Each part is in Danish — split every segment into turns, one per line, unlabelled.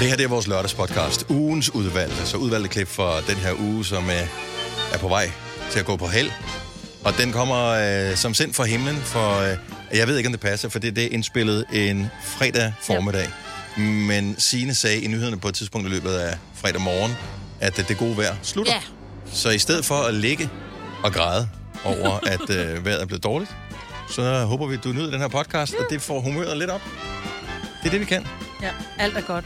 Det her det er vores lørdagspodcast. Ugens udvalgte. Så udvalgte klip for den her uge, som øh, er på vej til at gå på held. Og den kommer øh, som sendt fra himlen, for øh, jeg ved ikke, om det passer, for det, det er indspillet en fredag formiddag. Ja. Men Signe sagde i nyhederne på et tidspunkt i løbet af fredag morgen, at øh, det gode vejr slutter.
Ja.
Så i stedet for at ligge og græde over, at øh, vejret er blevet dårligt, så håber vi, at du nyder den her podcast, og det får humøret lidt op. Det er det, vi kan.
ja, alt er godt.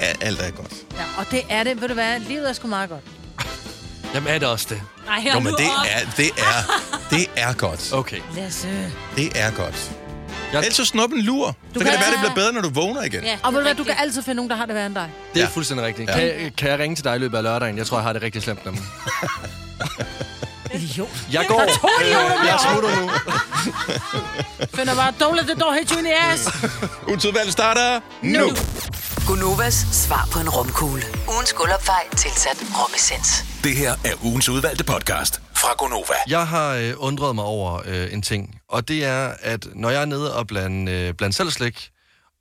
Ja, alt er godt.
Ja, og det er det, ved du hvad, livet er sgu meget godt.
Jamen er det også det?
Nej, her
Jo, men det er, det er, det er godt.
Okay.
Lasse.
Det er godt.
Jeg-
Ellers så snup en lur. Så kan
kan-
det være, det bliver bedre, når du vågner igen.
Ja, og ved du hvad, du kan altid finde nogen, der har det værre end dig.
Det er
Ja.
ja. fuldstændig rigtigt.
Ja.
Ja. Kan, kan jeg ringe til dig i løbet af lørdagen? Jeg tror, jeg har det rigtig slemt nu.
Idiot.
Jeg går.
idioter
Øh, jeg smutter nu.
Finder bare, don't let the door hit you in the ass.
Utudvalget starter nu. nu.
Gunovas svar på en romkugle. Ugens guldopfej tilsat romessens.
Det her er ugens udvalgte podcast fra Gonova.
Jeg har øh, undret mig over øh, en ting, og det er, at når jeg er nede og blander øh, bland selv slik,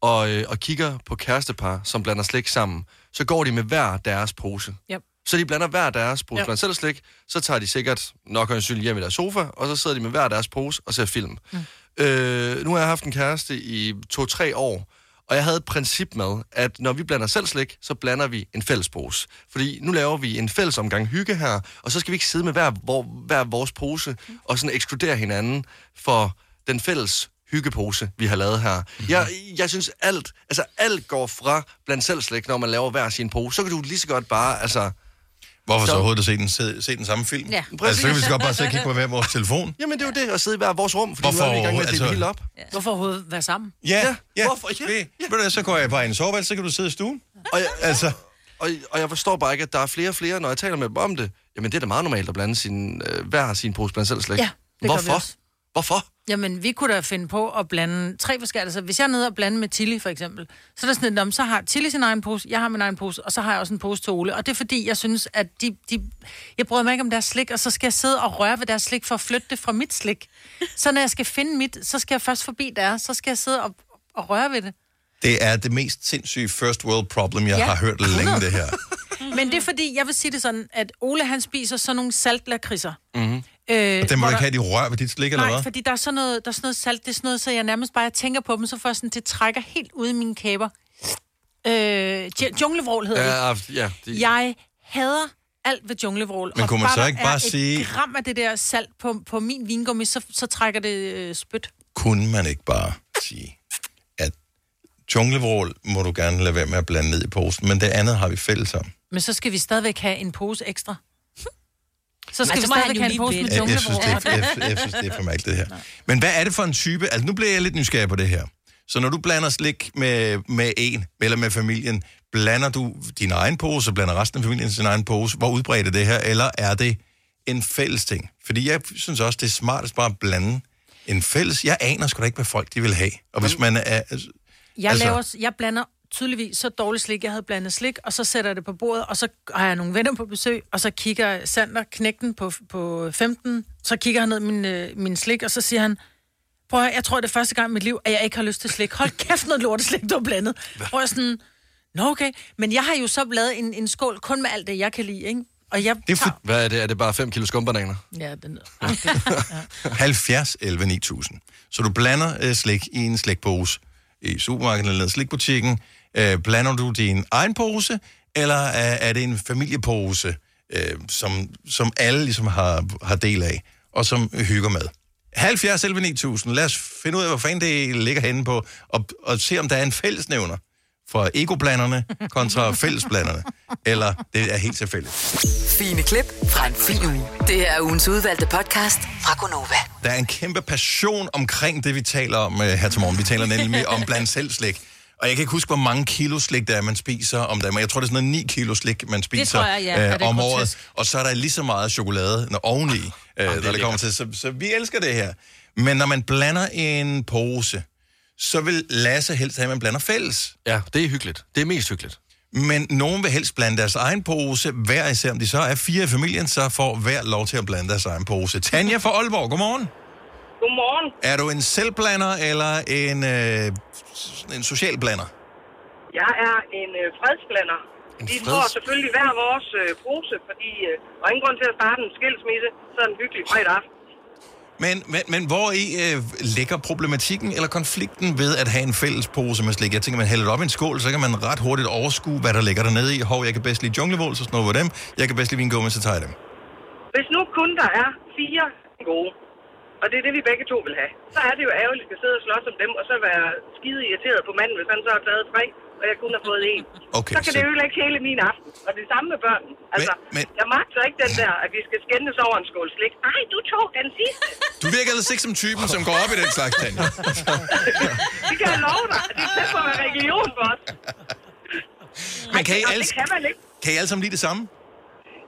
og, øh, og kigger på kærestepar, som blander slik sammen, så går de med hver deres pose.
Yep.
Så de blander hver deres pose
Ja.
ja. blandt selv slik, så tager de sikkert nok og en hjem i deres sofa, og så sidder de med hver deres pose og ser film. Mm. Øh, nu har jeg haft en kæreste i to-tre år, og jeg havde et princip med, at når vi blander selv slik, så blander vi en fælles pose. Fordi nu laver vi en fælles omgang hygge her, og så skal vi ikke sidde med hver, vor, hver vores pose og sådan ekskludere hinanden for den fælles hyggepose, vi har lavet her.
Mhm.
Jeg, jeg synes alt, altså alt går fra blandt selv slik, når man laver hver sin pose. Så kan du lige så godt bare, altså,
Hvorfor så
Så-
overhovedet at se den, se, se den samme film?
Ja.
Altså, så kan vi så godt bare sidde og kigge på hver vores telefon.
Jamen, det er jo det, at sidde i hver vores rum, fordi
Hvorfor
nu er vi i gang med at dele
overhovedet?
altså... helt op.
Hvorfor overhovedet være sammen?
Ja,
Ja,
ja.
hvorfor? Ja,
Det, ved du hvad, så går jeg bare i en soveværelse, så kan du sidde i stuen.
Og jeg, altså,
Altså,
og, og jeg forstår bare ikke, at der er flere og flere, når jeg taler med dem om det. Jamen, det er da meget normalt at blande sin, øh, hver sin pose blandt selv slik.
Ja, det gør vi
Hvorfor?
også.
Hvorfor?
Jamen, vi kunne da finde på at blande tre forskellige. Altså, hvis jeg er nede og blande med Tilly, for eksempel, så er der sådan lidt, "Nå, men så har Tilly sin egen pose, jeg har min egen pose, og så har jeg også en pose til Ole. Og det er fordi, jeg synes, at de, de jeg bryder mig ikke om deres slik, og så skal jeg sidde og røre ved deres slik for at flytte det fra mit slik. Så når jeg skal finde mit, så skal jeg først forbi deres, så skal jeg sidde og, og røre ved det.
det er det mest sindssyge first world problem, jeg
Ja.
har hørt længe, det her.
Men det er fordi, jeg vil sige det sådan, at Ole han spiser sådan nogle saltlakridser. Mm-hmm.
Mhm.
Øh,
Og det må
hvor
du
der-
ikke have, de rør ved dit slik, eller
Nej,
hvad?
fordi der er, sådan noget, der er sådan noget salt, det er sådan noget, så jeg nærmest bare jeg tænker på dem, så får jeg sådan, det trækker helt ude i mine kæber. Øh, dj- junglevrål hedder det.
ah,
Ja, ja, det, ja.
Jeg hader alt ved junglevrål.
Men
og
kunne man så
der
ikke
er
bare
et
sige-
gram af det der salt på, på min vingummi, så, så trækker det øh, spyt.
Kunne man ikke bare sige, at junglevrål må du gerne lade være med at blande ned i posen, men det andet har vi fælles om.
Men så skal vi stadigvæk have en pose ekstra. Så skal
Men
vi
så må han
stadigvæk
jo
have en
lige
pose
vælge.
med
Jeg, jeg, synes,
junglevrål.
det er, jeg, jeg synes, det er for mærkeligt, det her. Men hvad er det for en type? Altså, nu bliver jeg lidt nysgerrig på det her. Så når du blander slik med, med en, eller med familien, blander du din egen pose, og blander resten af familien sin egen pose? Hvor udbredt er det her, eller er det en fælles ting? Fordi jeg synes også, det er smartest bare at blande en fælles. Jeg aner sgu da ikke, hvad folk de vil have. Og hvis man er...
Jeg,
Altså-
altså... laver, jeg blander tydeligvis så dårligt slik, jeg havde blandet slik, og så sætter jeg det på bordet, og så har jeg nogle venner på besøg, og så kigger Sander knægten på, på 15, så kigger han ned i min, øh, min slik, og så siger han, prøv at høre, jeg tror, det er første gang i mit liv, at jeg ikke har lyst til slik. Hold kæft, noget lorteslik, du har blandet. Hvor jeg sådan, nå okay, men jeg har jo så lavet en, en skål kun med alt det, jeg kan lide, ikke? Og jeg
Det er
det
for-
tager...
Hvad er det? Er det bare 5 kilo skumbananer?
Ja, den...
70 11 9000. Så du blander øh, slik i en slikpose i supermarkedet eller nede i slikbutikken. Øh, blander du din egen pose, eller er, er det en familiepose, øh, som, som alle ligesom har, har del af, og som hygger med? 70 11 9000. Lad os finde ud af, hvor fanden det ligger henne på, og, og se, om der er en fællesnævner for egoblanderne kontra fællesblanderne. Eller det er helt tilfældigt.
Fine klip fra en fin uge. Det her er ugens udvalgte podcast fra Gonova.
Der er en kæmpe passion omkring det, vi taler om uh, her til morgen. Vi taler nemlig om blandt selv slik. Og jeg kan ikke huske, hvor mange kilo slik, der er, man spiser om dagen. Men jeg tror, det er sådan noget 9 kilo slik, man spiser
tror jeg, ja. Ja,
øh,
det er
om
grotesk.
året. Og så er der lige så meget chokolade når oveni, øh,
Ah,
når det kommer til. Så, så vi elsker det her. Men når man blander en pose, så vil Lasse helst have, at man blander fælles.
Ja, det er hyggeligt. Det er mest hyggeligt.
Men nogen vil helst blande deres egen pose. Hver især, om de så er fire i familien, så får hver lov til at blande deres egen pose. Tanja fra Aalborg, godmorgen.
Godmorgen.
Er du en selvblander eller en, øh, sådan en socialblander?
Jeg er en øh, fredsblander. Vi
freds-
får selvfølgelig hver vores øh, pose, fordi øh, der er ingen grund til at starte en skilsmisse sådan en hyggelig fredag aften.
Men, men, men hvor i øh, ligger problematikken eller konflikten ved at have en fælles pose med slik? Jeg tænker, man hælder det op i en skål, så kan man ret hurtigt overskue, hvad der ligger dernede i. Hov, jeg kan bedst lide junglevål, så snupper jeg dem. Jeg kan bedst lide vingummi, så tager jeg dem.
Hvis nu kun der er fire gode, og det er det, vi begge to vil have, så er det jo ærgerligt at sidde og slås om dem, og så være skide irriteret på manden, hvis han så har taget tre, og jeg kun har fået en.
Okay,
så kan det
så-
ødelægge hele min aften. Og det samme med børn. Altså, men, men...
men-
jeg magter ikke den der, at vi skal skændes over en skål slik. Nej, du tog den sidste.
Du virker ellers ikke som typen, som går op i den slags, Tanja.
Det kan jeg love dig. Det kan for at være religion for os.
Men kan I,
Og
alle,
det kan man ikke.
kan I alle sammen lide det samme?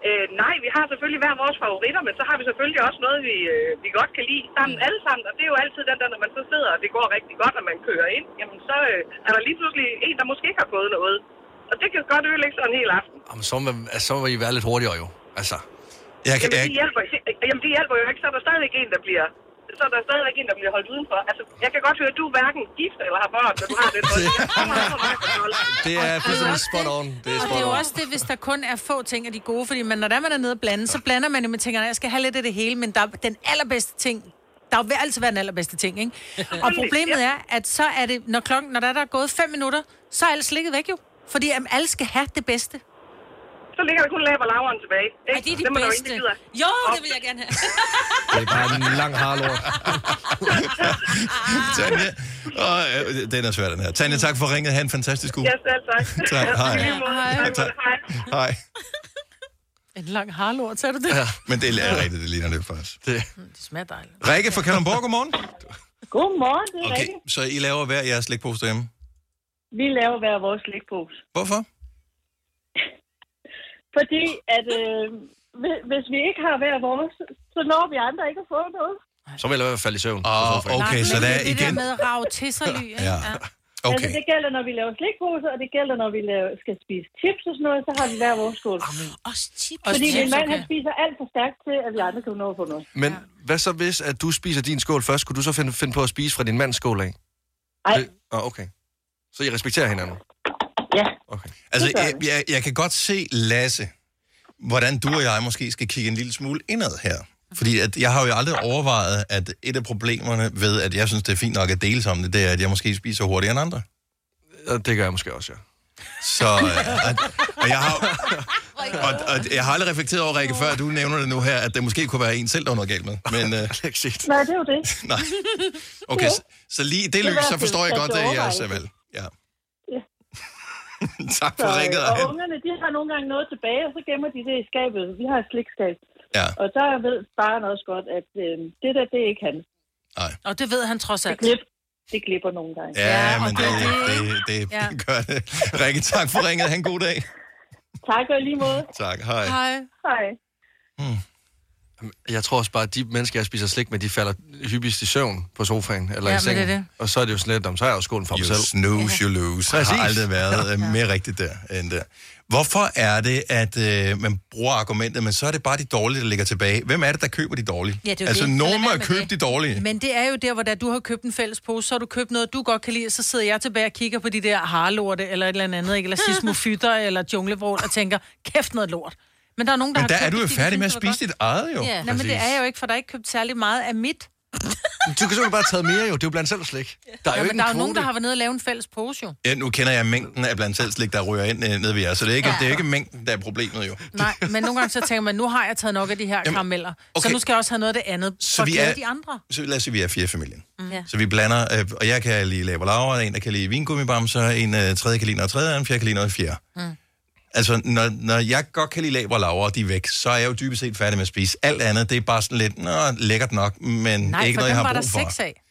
Øh, nej, vi har selvfølgelig hver vores favoritter, men så har vi selvfølgelig også noget, vi, øh, vi godt kan lide sammen alle sammen. Og det er jo altid den der, når man så sidder, og det går rigtig godt, når man kører ind, jamen så øh, er der lige pludselig en, der måske ikke har fået noget. Og det kan godt ødelægge sådan en hel aften.
Jamen, så, må, altså, så må I være lidt hurtigere jo. Altså,
Jeg, kan,
Jamen
jeg,
det hjælper, jamen, det hjælper jo ikke, så er der stadigvæk en, der bliver så er der stadigvæk en, der bliver holdt udenfor. Altså, jeg kan godt høre, at du er hverken gift eller har børn, når du har det. Så det er så meget for mig, at
det er fuldstændig spot on. Det er
Og det er
spot
jo
on.
også det, hvis der kun er få ting af de gode, fordi man, når der er man er nede og blande, så blander man jo med tingene, jeg skal have lidt af det hele, men der, er den allerbedste ting, der vil altid være den allerbedste ting, ikke? Og problemet er, at så er det, når klokken, når der er, der er gået fem minutter, så er alt slikket væk jo. Fordi jamen, alle skal have det bedste.
så ligger der kun lav og laveren tilbage. Ikke?
Ej, det er de
Dem der jo ingen,
bedste.
der gider.
Jo, det vil jeg gerne have.
Det er bare en lang harlort.
Tanja, og, øh, den er svær, den her. Tanja, tak for ringet. Ha' en fantastisk uge.
Ja, selv tak.
Tak, hej.
I lige måde.
Hej.
Tak,
Tak.
Hej.
Hej.
En lang harlort, så er det det. Ja.
Men det er rigtigt, det ligner det faktisk.
Det smager dejligt.
Rikke fra Kalundborg, godmorgen.
Godmorgen, det er okay.
Okay, så I laver hver jeres slikpose derhjemme.
Vi laver hver vores slikpose.
Hvorfor?
Fordi at øh, hvi- hvis vi ikke har hver vores, så når vi andre ikke at få noget.
Så vil jeg i hvert fald falde i søvn.
Ah, okay,
Nej,
så
men
der er
det der
igen...
med rave til sig ly, ikke?
Ja.
Altså,
Okay.
det gælder, når vi laver slikposer, og det gælder, når vi laver, skal spise chips og sådan noget, så har vi hver vores skål.
Også chips.
Også
Fordi min
chips,
mand,
okay.
han spiser alt for stærkt til, at vi andre kan nå at få noget.
Men hvad så hvis, at du spiser din skål først? Kunne du så finde, finde på at spise fra din mands skål af?
Ej,
Det- Ah, okay. Så I respekterer hinanden?
ja.
Okay.
Altså,
Det gør
jeg, jeg, jeg kan godt se, Lasse, hvordan du og jeg måske skal kigge en lille smule indad her. Fordi at jeg har jo aldrig overvejet, at et af problemerne ved, at jeg synes, det er fint nok at dele om det, det er, at jeg måske spiser hurtigere end andre.
Ja, Det gør jeg måske også, ja.
Så øh, at, og jeg har, og, og jeg har aldrig reflekteret over, Rikke, før du nævner det nu her, at det måske kunne være en selv, der var noget galt med. Men øh,
Det er ikke set.
Nej, det er jo det.
nej. Okay, så, så lige i det
er
lys,
i hvert
så
fald
forstår jeg
en
godt, øh, at jeg er
overvejelse.
vel. Ja.
Ja.
tak
Så, øh,
for ringet.
og
Anne.
ungerne, de har nogle gange noget tilbage, og så gemmer de det i skabet. Vi har et slikskab.
Ja,
Og der ved faren også godt, at øh, det der, det er ikke han.
nej.
Og det ved han trods alt.
Glip, det glipper nogle gange.
Ja,
Ja,
men
og
det,
det er
det,
det,
det, det,
Ja.
det gør det. Rikke, tak for ringet. Ha' en god dag.
Tak og i lige måde.
Tak, hej.
Hej.
Hej.
Jeg tror også bare, at de mennesker, jeg spiser slik med, de falder hyppigst i søvn på sofaen eller
Ja,
i
men
sengen.
det er det.
Og så er det jo sådan lidt, "Nå, så har jeg jo skålen for mig
You
selv.
snooze, you lose. Præcis. har
Præcis.
aldrig været øh, mere rigtigt der end der. Hvorfor er det, at øh, man bruger argumentet, men så er det bare de dårlige, der ligger tilbage? Hvem er det, der køber de dårlige?
Ja, det er jo
altså,
det. Så lad
nogen må
være
jo
med
købe
det.
de dårlige.
Men det er jo der, hvor da du har købt en fælles pose, så har du købt noget, du godt kan lide, og så sidder jeg tilbage og kigger på de der harlorte, eller et eller andet, ikke? eller sismofytter, eller junglevrål, og tænker, kæft noget lort. Men der er nogen, der
Men
har
der
købt
er du jo
det, fordi de
færdig med at
synes, det var
spise dit eget, jo.
Ja.
godt. Nej, men det er jeg jo ikke, for der er ikke købt særlig meget af mit.
Du kan simpelthen bare have taget mere jo, det er jo blandt selv slik. Der er jo
Ja,
ikke
men der er jo
en
nogen, der
kvote.
har været nede og lavet en fælles pose, jo.
Ja, nu kender jeg mængden af blandt selv slik, der ryger ind øh, nede ved jer, så det er, ikke, ja. det er ikke mængden, der er problemet, jo.
Nej, men nogle gange så tænker man, nu har jeg taget nok af de her
Jamen,
karameller,
okay.
så nu skal jeg også have noget af det andet,
Så
for at
vi
glæde
er-
de andre.
så lad os sige, vi er fire i familien. Mm.
Ja.
Så vi blander, øh, og jeg kan lide laver laver, en der kan lide vingummibamser, en øh, tredje kan lide noget tredje, og en fjerde kan lide noget fjerde. Mm. Altså, når, når jeg godt kan lide laver laver, og de er væk, så er jeg jo dybest set færdig med at spise. Alt andet, det er bare sådan lidt, nå, lækkert nok, men
Nej,
ikke
for
noget,
dem
jeg
var
har
der
brug for.
seks af.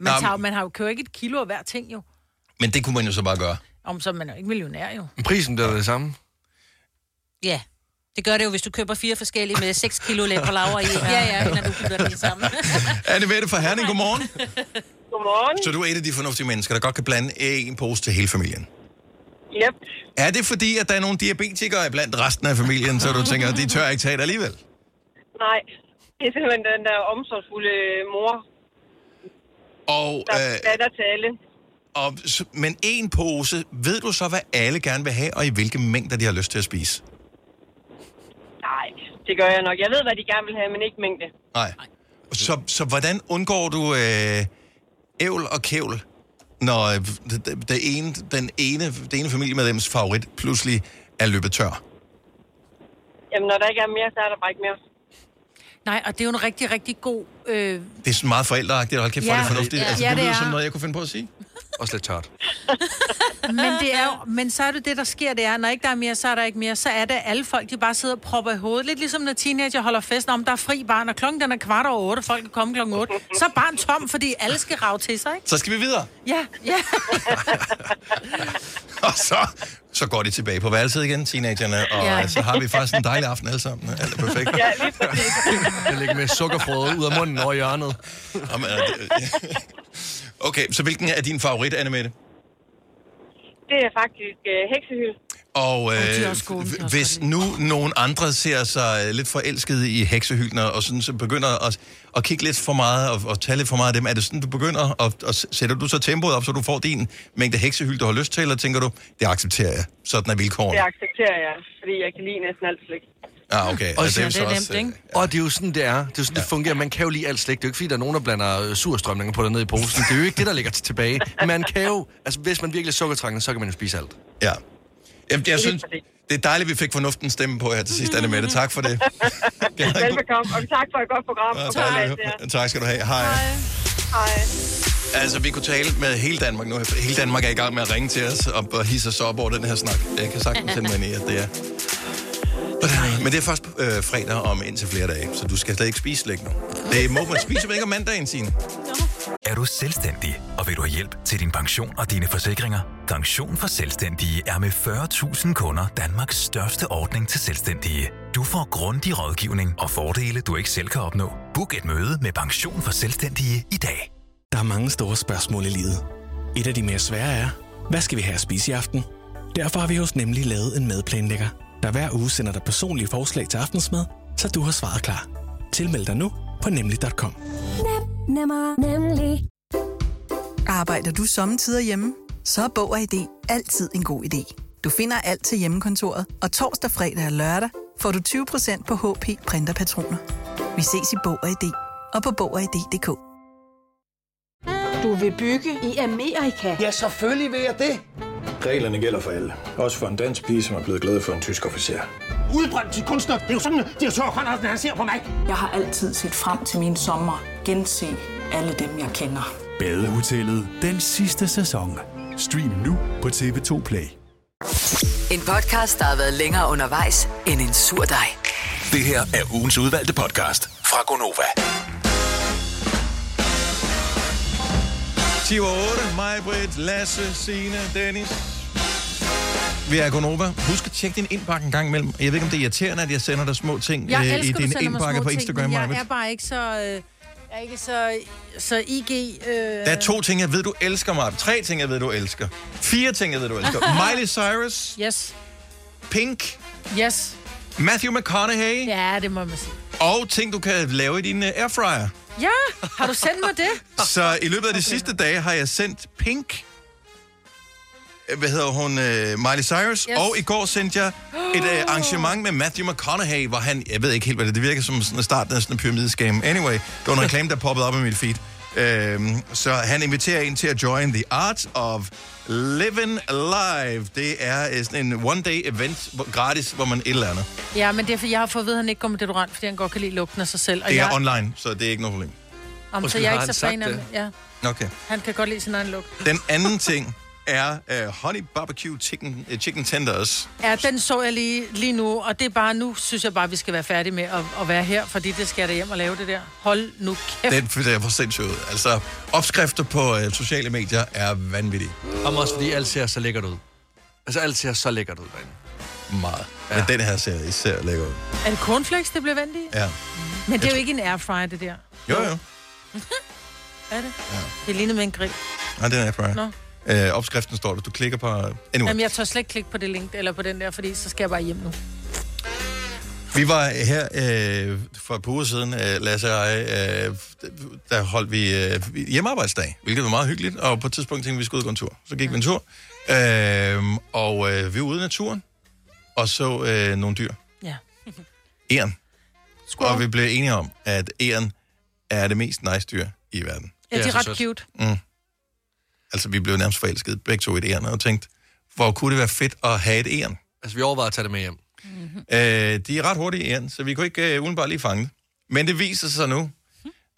Nå,
Man, tager, jo-
men-
man har jo købt ikke et kilo af hver ting, jo.
Men det kunne man jo så bare gøre.
Om så er man er jo ikke millionær, jo.
Prisen bliver det samme.
Ja. Det gør det jo, hvis du køber fire forskellige med 6 kilo læbalaver i. Ja, ja, når du putter det sammen.
Anne Mette fra Herning, godmorgen.
Godmorgen.
Så du er et af de fornuftige mennesker, der godt kan blande en pose til hele familien.
Yep.
Er det fordi, at der er nogle diabetikere blandt resten af familien, så du tænker, de tør ikke tage det alligevel?
Nej, det er simpelthen
øh,
den der omsorgsfulde mor,
Og,
der
øh,
øh... datter til alle.
Og, s- men en pose, ved du så, hvad alle gerne vil have, og i hvilke mængder de har lyst til at spise?
Nej, det gør jeg nok. Jeg ved, hvad de gerne vil have, men ikke mængde.
Nej. Så, så hvordan undgår du øh, ævl og kævl, når øh, det, det, det ene, den ene, det ene familiemedlems favorit pludselig er løbet tør?
Jamen, når der ikke er mere, så er der bare ikke mere.
Nej, og det er jo en rigtig, rigtig god... Øh,
Det er sådan meget forældreagtigt, og hold kæft, ja.
Ja.
det er fornuftigt.
Ja.
Altså,
Ja,
det
det
lyder
er.
som noget, jeg kunne finde på at sige.
Også lidt tørt.
men, det er jo, men så er det det, der sker, det er, når ikke der er mere, så er der ikke mere. Så er det at alle folk, de bare sidder og propper i hovedet. Lidt ligesom når teenager holder fest om, der er fri barn, og klokken den er kvart over otte, folk kan komme klokken otte. Så er barn tom, fordi alle skal rave til sig, ikke?
Så skal vi videre.
Ja, ja.
Og så, så går de tilbage på værelset igen, teenagerne, og ja.
Ja.
så har vi faktisk en dejlig aften alle sammen. Alt er perfekt.
Ja, lige præcis.
Jeg lægger med sukkerfrøde ud af munden over hjørnet.
Jamen, er øh, det- Okay, så hvilken er din favorit, Annemette?
Det er faktisk øh, heksehyld.
Og
de er
øh,
også gode, de kan
hv-
også
hvis
godt
nu nogen andre ser sig øh, lidt forelskede i heksehylden, og og sådan, så begynder at, at kigge lidt for meget og, og tage lidt for meget af dem, er det sådan, du begynder, og, og s- sætter du så tempoet op, så du får din mængde heksehyld, du har lyst til, eller tænker du, det accepterer jeg, sådan er vilkårene?
Det accepterer jeg, fordi jeg kan lide næsten alt slik.
Ja, ah, okay.
Og
jo
ja, det
så
er nemt,
øh,
ikke?
Og det er jo sådan, det er. Det er jo sådan, det fungerer. Man kan jo lige alt slik. Det er jo ikke, fordi der er nogen, der blander øh, surstrømninger på dig ned i posen. Det er jo ikke det, der ligger t- tilbage. Man kan jo... Altså, hvis man virkelig er sukkertrængende, så kan man jo spise alt.
Ja. Jamen, jeg synes,
præcis.
det er dejligt, vi fik fornuften stemme på her til sidst, Annemette. Tak for det.
Velbekomme, og tak for et godt program. Og godt alt det her.
tak. tak skal du have. Hej. Hej.
Hej.
Altså, vi kunne tale med hele Danmark nu. Hele Danmark er i gang med at ringe til os og og hisse os op over den her snak. Jeg kan sagtens sætte mig ind i, at det er... Men det er først øh, fredag om indtil flere dage, så du skal slet ikke spise slik nu. Det må man spise vel ikke om mandagen, Signe?
Er du selvstændig, og vil du have hjælp til din pension og dine forsikringer? Pension for Selvstændige er med 40.000 kunder Danmarks største ordning til selvstændige. Du får grundig rådgivning og fordele, du ikke selv kan opnå. Book et møde med Pension for Selvstændige i dag.
Der er mange store spørgsmål i livet. Et af de mere svære er, hvad skal vi have at spise i aften? Derfor har vi hos Nemlig lavet en madplanlægger, der hver uge sender dig personlige forslag til aftensmad, så du har svaret klar. Tilmeld dig nu på nemlig.com.
Nemmer, nemlig. Arbejder du sommetider hjemme? Så er Bog og ID altid en god idé. Du finder alt til hjemmekontoret, og torsdag, fredag og lørdag får du 20% på HP printerpatroner. Vi ses i Bog og ID og på Bog og ID.dk.
Du vil bygge i Amerika? Ja, selvfølgelig vil jeg det.
Reglerne gælder for alle. Også for en dansk pige, som er blevet glad for en tysk officer.
Udbrændt til kunstner. Det er jo sådan, at de har tørt, han ser på mig. Jeg har altid set frem til min sommer. Gense alle dem, jeg kender.
Badehotellet den sidste sæson. Stream nu på TV2 Play.
En podcast, der har været længere undervejs end en sur dej.
Det her er ugens udvalgte podcast fra Gonova.
10 over 8. Mig, Britt, Lasse, Signe, Dennis. Vi er Gonova. Husk at tjekke din indbakke en gang imellem. Jeg ved ikke, om det er irriterende, at jeg sender dig små ting øh,
Jeg
i
elsker,
din
du sender mig
indbakke
små
på
ting,
Instagram.
men
Maja.
Jeg er bare ikke så... Øh, jeg er ikke så, så IG... Øh,
Der er to ting, jeg ved, du elsker, Martin. Tre ting, jeg ved, du elsker. Fire ting, jeg ved, du elsker. Miley Cyrus,
Yes,
Pink,
yes.
Matthew McConaughey
Ja, det må man sige.
og ting, du kan lave i din øh, airfryer.
Ja, har du sendt mig det?
Så i løbet af de sidste dage har jeg sendt Pink, øh, hvad hedder hun, øh, Miley Cyrus, yes. og i går sendte jeg et øh, arrangement med Matthew McConaughey, hvor han, jeg ved ikke helt, hvad det, det virker som sådan starten af sådan en pyramideskame. Anyway, det var en reklame, der poppede op i mit feed. Øhm, så han inviterer en til at join The Art of Living Live. Det er øh, sådan en one-day event, hvor- gratis, hvor man et eller andet.
Ja, men det er, fordi jeg har fået at vide, at han ikke går med deodorant, fordi han godt kan lide lugten af sig selv.
Det er
jeg,
online, så det er ikke noget problem.
om, så
Undskyld,
jeg er
har
ikke så
han
fan af
sagt
det. Ja,
Okay.
han kan godt lide sin egen lugt.
Den anden ting er øh, Honey Barbecue Chicken, øh, chicken Tenders.
Ja, den så jeg lige, lige nu, og det er bare nu, synes jeg bare, vi skal være færdige med at, at være her, fordi det skal jeg da hjem og lave det der. Hold nu kæft.
Den det er for sindssygt. ud. Altså, opskrifter på øh, sociale medier er vanvittige.
Og også fordi alt ser så lækkert ud. Altså, alt ser så lækkert ud derinde.
Meget. Ja. Men den her ser især lækker ud.
Er det cornflakes, det bliver vendt i?
Ja.
Men det er jo ikke en airfryer, det der.
Jo, jo.
Er det? Ja. Det ligner med en grill.
Nej, den er
Nå.
fra. Øh, opskriften står der. Du klikker på... Anyway.
Jamen, jeg tør slet ikke klikke på det link, eller på den der, fordi så skal jeg bare hjem nu.
Vi var her øh, for et par uger siden, øh, Lasse og jeg, øh, der holdt vi øh, hjemmearbejdsdag, hvilket var meget hyggeligt, og på et tidspunkt tænkte vi, vi skulle ud og gå en tur. Så gik vi en tur, øh, og øh, vi var ude i naturen, og så øh, nogle dyr.
Ja.
Eren. Skål. Og vi blev enige om, at eren er det mest nice dyr i verden.
Ja, de er ret cute.
Mm. Altså, vi blev nærmest forelsket begge to i et æren, og tænkte, hvor kunne det være fedt at have et æren?
Altså, vi overvejede at tage det med hjem.
Øh, de er ret hurtige æren, så vi kunne ikke øh, udenbart lige fange det. Men det viser sig nu,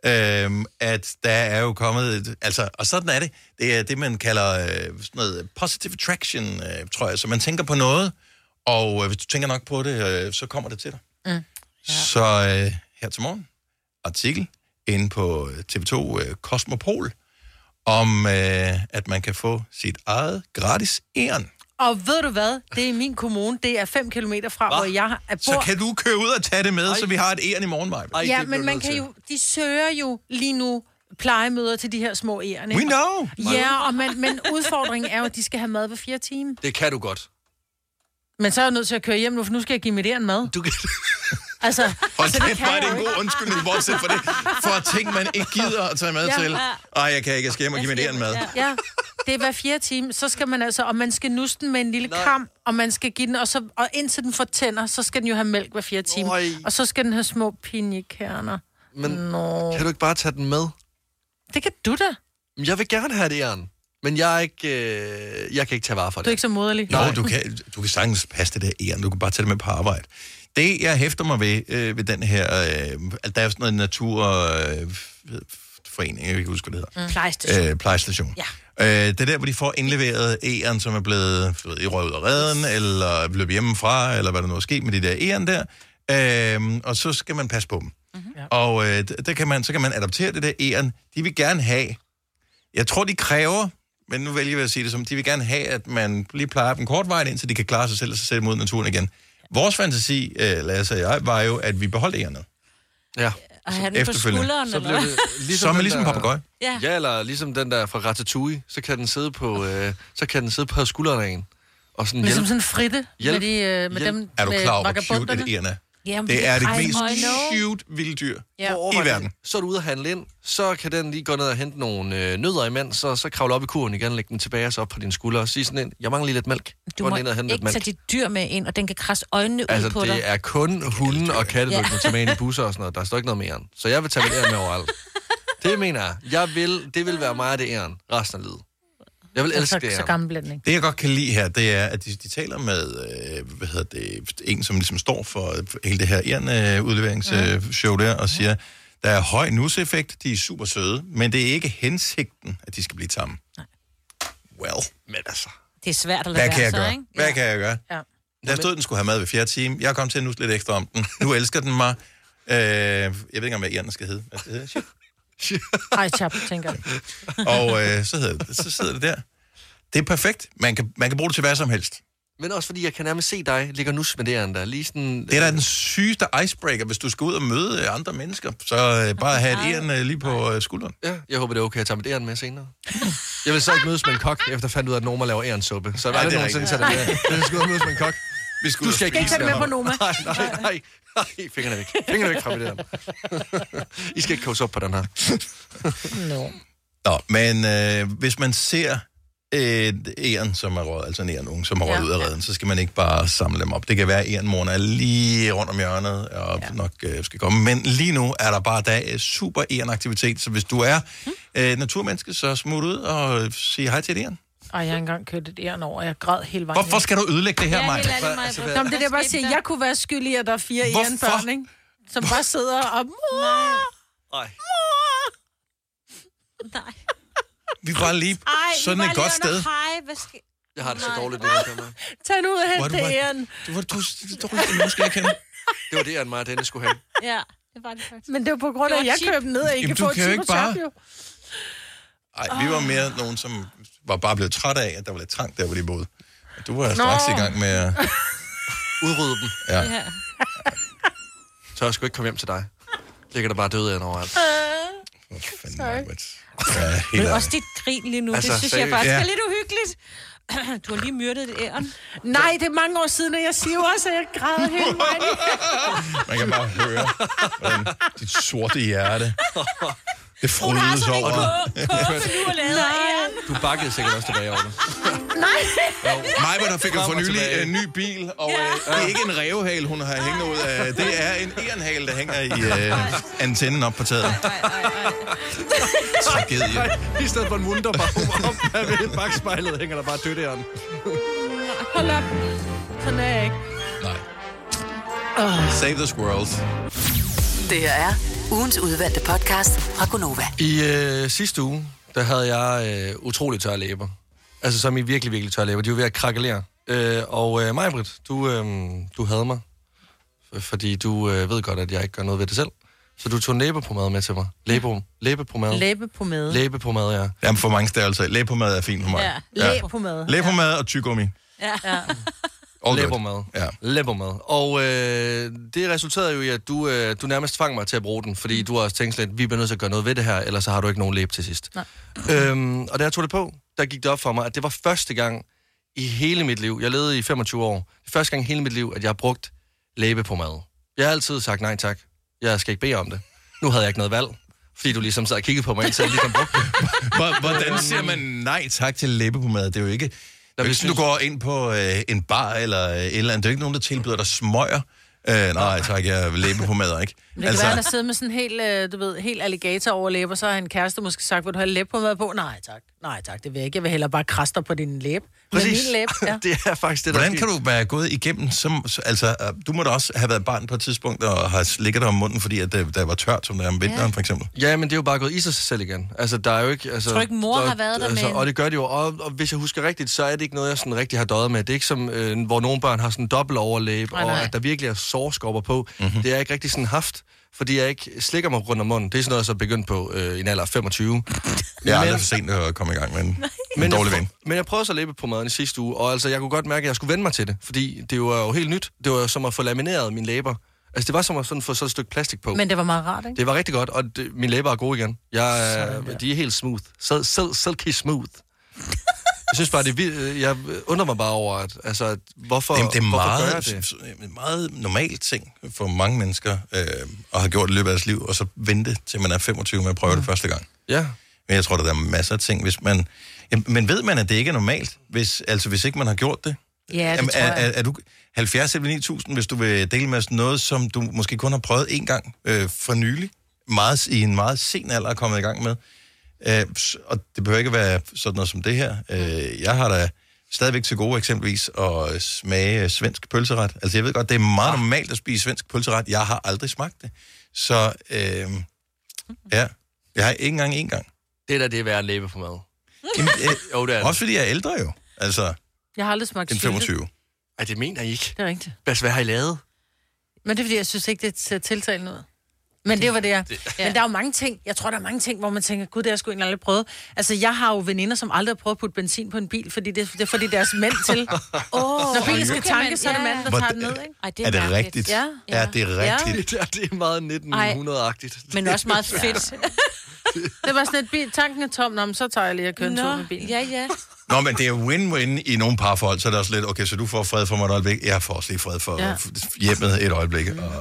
øh, at der er jo kommet... Et, altså, og sådan er det. Det er det, man kalder øh, sådan noget positive attraction, øh, tror jeg. Så man tænker på noget, og øh, hvis du tænker nok på det, øh, så kommer det til dig.
Mm.
Så øh, her til morgen, artikel inde på øh, TV2 øh, Cosmopol, om øh, at man kan få sit eget gratis æren.
Og ved du hvad? Det er i min kommune. Det er 5 km fra, Hva? hvor jeg er bor.
Så kan du køre ud og tage det med, Ej. så vi har et æren i morgen, Maja.
Ej, ja, men man kan jo, de søger jo lige nu plejemøder til de her små ærerne.
We know!
Ja, og man, men udfordringen er jo, at de skal have mad hver fire timer.
Det kan du godt.
Men så er jeg nødt til at køre hjem nu, for nu skal jeg give mit æren mad.
Du kan...
Altså,
Og
så
det, det var det en god undskyldning, bortset for det. For ting, man ikke gider at tage med
Ja.
ja. til. Ej, jeg kan ikke. Jeg skal hjem og give mit æren mad.
Ja. ja, det er hver fjerde time. Så skal man altså, og man skal nusse den med en lille Nej. kram, og man skal give den, og, så, og indtil den får tænder, så skal den jo have mælk hver fjerde time. Øj. Og så skal den have små pinjekerner.
Men kan du ikke bare tage den med?
Det kan du da.
Men Jeg vil gerne have et æren, men jeg, er ikke, øh, jeg kan ikke tage vare
Du
for
er
det.
ikke så moderlig.
Jo, du kan, du kan sagtens passe det der æren. Du kan bare tage det med på arbejde. Det, jeg hæfter mig ved, øh, ved den her... Øh, at der er sådan noget naturforening, øh, forening, jeg kan ikke huske, hvad det hedder.
Mm. Plejestation.
Øh, plejestation.
Ja.
Øh, det er der, hvor de får indleveret æren, som er blevet du ved, i røvet og redden, eller løbet hjemmefra, eller hvad der nu er sket med de der æren der. Øh, og så skal man passe på dem.
Mhm.
Mm-hmm. Og øh, d- der kan man, så kan man adoptere det der æren. De vil gerne have... Jeg tror, de kræver, men nu vælger jeg at sige det som, de vil gerne have, at man lige plejer dem kort vej ind, så de kan klare sig selv og så sætte dem ud i naturen igen. Vores fantasi, øh, Lasse og jeg, var jo, at vi beholdt ærerne.
Ja.
Og have den på skulderen,
Så
eller
bliver
hvad?
det ligesom
Som er
den
ligesom en
der-
papegøje.
Ja.
Ja, eller ligesom den der fra Ratatouille, så kan den sidde på, øh, så kan den sidde på skulderen af en. Og sådan
Ligesom
hjælpe.
sådan en fritte med,
Hjælp.
de, øh, med
Hjælp.
dem
Er du
med
klar over, hvor cute
vagabonderne.
et æren er?
Ja, men
Det er det
Ej,
mest
I know.
cute vilde dyr
Ja.
ja. i verden.
Så er du ude at handle ind, så kan den lige gå ned og hente nogle øh, nødder imens, så, så kravle op i kurven igen, lægge den tilbage og så op på din skulder og sige sådan ind, jeg mangler lige lidt mælk.
Du
Gå
må
den ind og hente lidt
ikke tage
mælk.
dit dyr med ind, og den kan krasse øjnene altså, ud
Altså,
på dig.
det er kun hunden og katte, du
Ja.
kan tage med ind i busser og sådan noget. Der står ikke noget mere. Så jeg vil tage mit æren med overalt. Det mener jeg. jeg vil, det vil være mig og det æren resten af livet. Jeg vil elske det
så, så
æren.
gammel blænding.
Det, jeg godt kan lide her, det er, at de, de taler med øh, hvad hedder det, en, som ligesom står for øh, hele det her Iren-udleveringsshow der, og siger, der er høj nuseffekt, de er super søde, men det er ikke hensigten, at de skal blive tamme. Well, men altså,
det er svært at lade
hvad
være,
kan jeg
så,
gøre?
ikke?
Hvad kan jeg gøre?
Ja.
Der stod, den skulle have mad ved fjerde time. Jeg kom til at nusse lidt ekstra om den. Nu elsker den mig. Øh, jeg ved ikke engang, hvad Iren skal hedde. Hvad skal det hedde? Shit.
Ej, chap, tænker jeg.
Og øh, så, hedder det, så sidder det der. Det er perfekt. Man kan, man kan bruge det til hvad som helst.
Men også fordi, jeg kan nærmest se dig ligge og nusse med det æren der. Lige sådan... øh,
Det er da den sygeste icebreaker, hvis du skal ud og møde øh, andre mennesker. Så øh, bare have et æren øh, lige på øh, skulderen.
Ja, jeg håber, det er okay at tage mit æren med senere. Jeg vil så ikke mødes med en kok, efter jeg fandt ud af, at Norma laver ærensuppe. Så jeg
Ja,
vil
det er
aldrig nogensinde tage
rigtigt.
det med. æren. Jeg skal ud og mødes med en kok.
Vi skal
du
ud og
skal ikke
spise
spise
Ikke tage det med
æren.
på Noma.
Nej,
Øh,
nej, nej. nej. Fingrene væk. Fingrene væk fra mit æren. I skal ikke koges op på den her.
No.
Nå, men øh, hvis man ser et æren, som er røget, altså en æren unge, som er røget
Ja.
ud af redden, så skal man ikke bare samle dem op. Det kan være, at ærenmoren er lige rundt om hjørnet, og ja. nok øh, skal komme. Men lige nu er der bare dag øh, super ærenaktivitet, så hvis du er
Hmm?
øh, naturmenneske, så smut ud og sig hej til et æren.
Ej, jeg har engang kørt et æren over, og jeg græd hele vejen.
Hvorfor skal du ødelægge det her,
Ja,
Maja?
helt ærligt,
Altså,
Nå,
hvad-
men det er det, jeg bare siger, jeg kunne være skyldig, i, at der er fire
Hvorfor?
ærenbørn, ikke? Som bare sidder og... Mor!
Nej.
Vi var lige sådan et godt sted.
Hej, hvad skal...
Jeg har det så dårligt, det her kamera.
Tag nu ud og
Hvor er
hent
du
det
bare-
æren.
Det var du, du, du, du måske ikke hende.
Det var det, æren mig og Dennis skulle have.
Ja, det var det faktisk.
Men det var på grund af,
Det var
at jeg
chip.
købte den ned og ikke Jamen,
Jamen, du
få et
kan jo
chip
ikke
og chap, jo.
bare- Ej, vi var mere nogen, som var bare blevet træt af, at der var lidt trangt der, hvor de boede. Og Du var
Nå.
straks i gang med at...
Udrydde dem.
Ja.
Så jeg skulle ikke komme hjem til dig. Ligger der bare døde æren overalt.
Ja, helt
Men
ærligt.
også dit grin lige nu,
Altså,
det synes jeg
seriøst.
faktisk
Ja.
er lidt uhyggeligt. du har lige myrdet et æren.
Nej, det er mange år siden, og jeg siger jo også, at jeg græder hele vejen.
Man kan bare høre, hvordan dit sorte hjerte, det frydes over.
Du bakkede sikkert også tilbage over det.
Nej.
Mig, der fik jo
Frem
for
og
nylig
tilbage.
en ny bil, og øh, det er ikke en revhale, hun har hængende ud af. Det er en ærenhale, der hænger i øh, antennen op på taget. Tragedie.
I stedet for en wunderbar op ad ved bagspejlet hænger der bare dødæren.
Hold op. Sådan er jeg ikke.
Save the squirrels.
Det her er ugens udvalgte podcast fra Gonova.
I øh, sidste uge, der havde jeg øh, utrolig tørre læber. Altså som i virkelig, virkelig tørre læber. De var ved at krakkelere. Øh, og øh, Majbrit, du, øh, du havde mig. F- Fordi du øh, ved godt, at jeg ikke gør noget ved det selv. Så du tog læbepomade med til mig. Læbe, læbepomade.
Læbe på mad.
Læbepomade, ja.
Jamen for mange størrelser. Læbepomade er fint for mig.
Ja, læbepomade.
Læbepomade og tygummi.
Ja. ja.
All good.
Læbermad.
Ja.
Læbermad. Og øh, det resulterede jo i, at du, øh, du nærmest tvang mig til at bruge den, fordi du har også tænkt lidt, vi bliver nødt til at gøre noget ved det her, ellers så har du ikke nogen læb til sidst.
Nej.
Øhm, og da jeg tog det på, der gik det op for mig, at det var første gang i hele mit liv, jeg levede i 25 år, det er første gang i hele mit liv, at jeg har brugt læbe på mad. Jeg har altid sagt nej tak. Jeg skal ikke bede om det. Nu havde jeg ikke noget valg, fordi du ligesom sad og kiggede på mig, indtil jeg ligesom brugte det.
Hvor- Hvordan siger man nej tak til læbepomade? Det er jo ikke... Det er jo ikke sådan, du går ind på øh, en bar eller øh, et eller andet. Det er jo ikke nogen, der tilbyder dig smøger. Øh, nej, tak, jeg vil læbepomade, ikke?
Men Det altså... kan være, han har siddet med sådan en helt, øh, du ved, helt alligator overlæb, og så har en kæreste måske sagt, vil du have læb på mad på? Nej tak, nej tak, det vil jeg ikke. Jeg vil hellere bare kraster på din læb. Med min læb, ja.
det er faktisk det, der
Hvordan
er
kan du være gået igennem, som, altså, øh, du må da også have været barn på et tidspunkt, og har slikket dig om munden, fordi at det, der var tørt, som der er om vinteren, for eksempel.
Ja, men det er jo bare gået i sig selv igen. Altså, der er jo ikke... Altså,
Tror du ikke, mor
der,
har været der
altså,
med en-
Og det gør det jo. Og, og, hvis jeg husker rigtigt, så er det ikke noget, jeg sådan rigtig har døjet med. Det er ikke som, øh, hvor nogle børn har sådan dobbelt overlæb,
Nej,
og
nej.
at der virkelig er sårskopper på.
Mhm.
Mm-hmm. Det har jeg ikke rigtig sådan haft, fordi jeg ikke slikker mig rundt om munden. Det er sådan noget, jeg så begyndt på øh, i en alder af 25.
Jeg er aldrig for sent at komme i gang med en, en
Men jeg,
dårlig vane.
prøv- men jeg prøvede så at læbe på maden i sidste uge, og altså, jeg kunne godt mærke, at jeg skulle vende mig til det, fordi det var jo helt nyt. Det var jo som at få lamineret mine læber. Altså, det var som at sådan få sådan et stykke plastik på.
Men det var meget rart, ikke?
Det var rigtig godt, og det, mine læber er gode igen. Jeg, er- de er helt smooth. Sil, sil, silky smooth. Jeg synes bare, det er vildt. Øh, Jeg undrer mig bare over, at, altså, at hvorfor,
Jamen, det er
hvorfor gør
meget,
jeg det?
det? meget normal ting for mange mennesker, øh, og har gjort det i løbet af deres liv, og så vente til man er 25 med at prøve det første gang.
Ja.
Men jeg tror, der er masser af ting, hvis man... Jamen, men ved man, at det ikke er normalt, hvis, altså, hvis ikke man har gjort det?
Ja, det
Jamen,
tror
er,
jeg.
er, er du 70 selv 9000, hvis du vil dele med os noget, som du måske kun har prøvet en gang øh, for nylig, meget, i en meget sen alder er kommet i gang med. Øh, s- og det behøver ikke være sådan noget som det her. Øh, jeg har da stadigvæk til gode eksempelvis at smage øh, svensk pølseret. Altså jeg ved godt, det er
Ah.
meget normalt at spise svensk pølseret. Jeg har aldrig smagt det. Så øh, ja, jeg har ikke engang en gang.
Det der, det er værd at læbe på mad.
Jamen, øh,
jo, det er det.
Også fordi jeg er ældre jo. Altså,
Jeg har aldrig smagt
den
sylte.
25.
Ej, det mener jeg ikke.
Det er rigtigt.
Hvad, hvad har I lavet?
Men det er fordi, jeg synes ikke, det ser tiltalende ud. Men det var det, jeg... Men der er jo mange ting, jeg tror, der er mange ting, hvor man tænker, gud, det har jeg sgu egentlig aldrig prøvet. Altså, jeg har jo veninder, som aldrig har prøvet at putte benzin på en bil, fordi det, det får de deres mænd til.
Åh.
Når bilen skal
Okay, men-
tanke, så er det
ja.
manden, der tager den ned,
Hvordan-
ikke?
Ej,
er, det
mærkeligt.
rigtigt?
Ja.
Er det rigtigt?
Det, der, det er meget 1900-agtigt.
Men også meget fedt.
Det var sådan et bil, tanken er tom, Nå, men så tager jeg lige at køre en
Nå,
tur med bilen.
Ja, ja.
Nå, men det er win-win i nogle parforhold, så er det også lidt, okay, så du får fred for mig et øjeblik, jeg får også lige fred for
Ja.
ja. hjemmet et øjeblik. Og,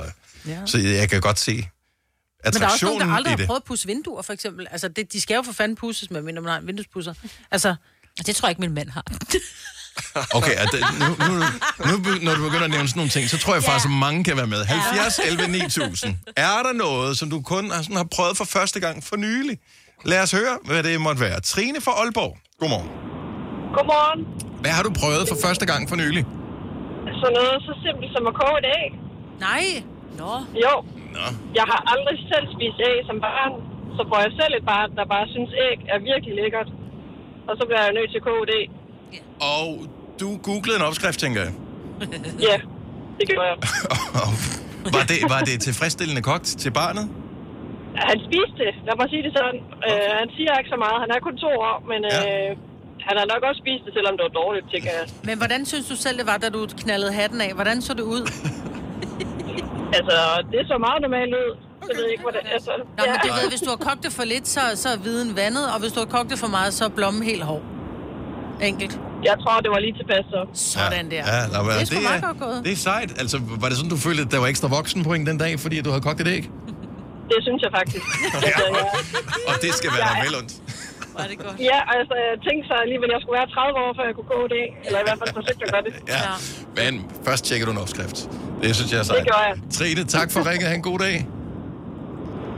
Ja.
ja. Så jeg kan godt se
Men der er også
attraktionen
nogen, der aldrig
i
har
det.
prøvet at pusse vinduer, for eksempel. Altså, det, de skal jo for fanden pusses med, når man har en vinduespusser. Altså,
det tror jeg ikke, min mand har.
Okay, og det, nu, nu, nu, be- når du begynder at nævne sådan nogle ting, så tror jeg faktisk, at mange kan være med. 70, 11, 9000. Er der noget, som du kun har, sådan, har prøvet for første gang for nylig? Lad os høre, hvad det måtte være. Trine fra Aalborg, godmorgen.
Godmorgen.
Hvad har du prøvet for første gang for nylig?
Så noget så simpelt som at koge et æg.
Nej. Nå.
Jo.
Nå.
Jeg har aldrig selv spist æg som barn. Så får jeg selv et barn, der bare synes, æg er virkelig lækkert. Og så bliver jeg nødt til at koge det.
Og du googlede en opskrift, tænker jeg.
Ja, det gjorde jeg.
Var det, var det tilfredsstillende kogt til barnet?
Han spiste det, lad mig sige det sådan. Øh, han siger ikke så meget. Han er kun to år, men øh, han har nok også spist det, selvom det var dårligt, tænker jeg.
Men hvordan synes du selv, det var, da du knaldede hatten af? Hvordan så det ud?
Altså, det så meget normalt ud. Jeg ved ikke, hvordan... Altså,
Nå, men det ved, hvis du har kogt det for lidt, så, så er viden vandet, og hvis du har kogt det for meget, så er blommen helt hård. Enkelt.
Jeg tror, det var lige tilpas så.
Sådan der.
Ja, nå, men,
det er
det,
sgu
det,
meget godt
er,
gået.
det er sejt. Altså, var det sådan, du følte, at der var ekstra voksenpoint den dag, fordi du havde kogt et æg?
Det synes jeg faktisk. altså, jeg,
Og det skal være dig vel ondt.
var det godt.
ja, altså, jeg tænkte så alligevel, at jeg skulle være 30 år, før jeg kunne gå det. Eller i hvert fald forsøgte at gøre det.
Ja. Men først tjekker du en opskrift. Det synes jeg er
Det
sejt.
gjorde jeg.
Trine, tak for ringet. Ha' en god dag.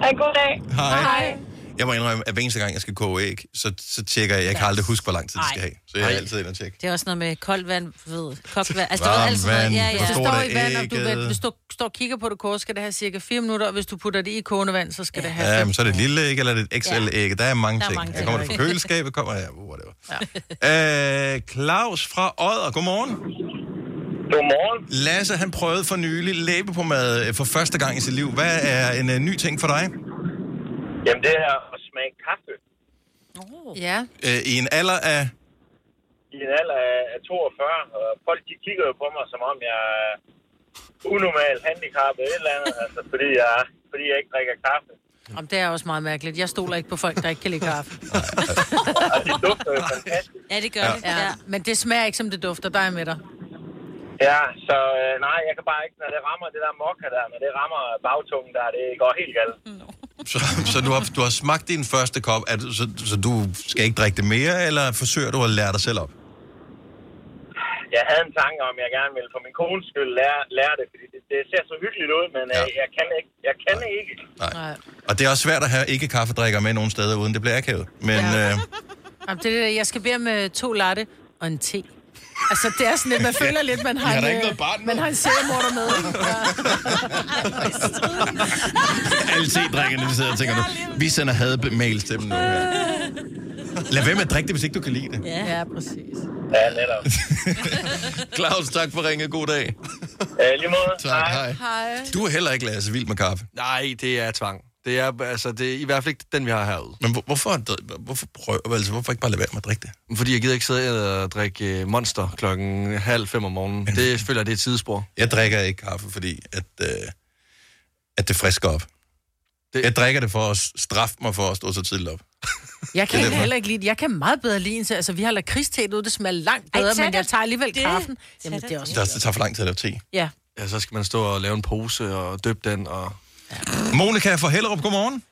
Ha' en god dag.
Hej.
Hej.
Jeg må indrømme, at hver eneste gang, jeg skal koge æg, så, så tjekker jeg. Jeg kan aldrig huske, hvor lang tid det skal
Ej.
have. Så jeg er altid inde og tjekke.
Det er også noget med koldt vand, ved, kogt vand. Altså,
Varmt
det altid noget.
vand,
Ja,
hvor
ja.
Det
stort
står
er
i vand, og du,
ægget?
ved, hvis du står og kigger på det koge, skal det have cirka 4 minutter, og hvis du putter det i kogende vand, så skal det have
Ja,
fem.
men så er det et lille æg, eller er det et XL-æg. Der er mange
Altså- Der er mange
ting. Der
ting.
kommer det fra køleskabet, kommer ja, whatever. Ja. Øh, Claus fra Odder, godmorgen. Godmorgen. Lasse, han prøvede for nylig læbepomade øh, for første gang i sit liv. Hvad er en øh, ny ting for dig?
Jamen, det er at smage kaffe
Ja.
Øh, I en alder af...
i en alder af- af 42, og folk de kigger jo på mig, som om jeg er unormal handicappet eller et eller andet, altså, fordi, jeg, fordi jeg ikke drikker kaffe.
Om det er også meget mærkeligt. Jeg stoler ikke på folk, der ikke kan lide kaffe.
Og det dufter jo fantastisk.
Ja, det
gør det.
Ja. Men det smager ikke, som det dufter. Der er jeg med dig.
Ja, så øh, nej, jeg kan bare ikke, når det rammer det der mokka der, når det rammer bagtungen der, det går helt galt.
Så, så du, har, du har smagt din første kop, er du, så, så du skal ikke drikke det mere, eller forsøger du at lære dig selv op?
Jeg havde en tanke om, at jeg gerne ville for min kones skyld lære, lære det, fordi det, det ser så hyggeligt ud, men ja. øh, jeg kan ikke. Jeg kan ikke.
Nej.
Og det er også svært at have ikke kaffedrikker med nogen steder, uden det bliver akavet. Men ja. øh,
Jamen, det er det, der. jeg skal bede med to latte og en te. Altså, det er sådan lidt, man føler lidt, man
Vi
har,
har da
en,
ikke
øh,
noget barn med.
man har en seriemorder med. ikke? Ja.
alle te-drikkerne, de sidder og tænker nu, vi sender hadmails til dem nu. Ja. Lad være med at drikke det, hvis ikke du kan lide det.
Ja, præcis.
Ja, netop.
Claus, tak for ringet. God dag.
Ja, lige måde.
Tak, hej.
Hej.
Du er heller ikke, Lasse, vild med kaffe.
Nej, det er tvang. Det er, altså, det er i hvert fald ikke den, vi har herude.
Men hvor- hvorfor, hvorfor, prøv, altså, hvorfor ikke bare lade være med at drikke
det? Fordi jeg gider ikke sidde og drikke øh, Monster klokken halv fem om morgenen. Det føler jeg, det er et tidsspor.
Jeg drikker ikke kaffe, fordi at, øh, at det frisker op. Det... Jeg drikker det for at straffe mig for at stå så tidligt op.
Jeg kan
Det er
ikke
derfor.
heller ikke lide det. Jeg kan meget bedre lide en te. Altså, vi har lakridstet ud, det smager langt
Ej,
bedre,
tag
men
det.
jeg tager alligevel
Det-
kaffen.
tag
Jamen,
det.
det er også...
Det, det tager for lang tid at lave te.
Ja.
Ja, så skal man stå og lave en pose og døbe den. Og...
Monika fra Hellerup, godmorgen.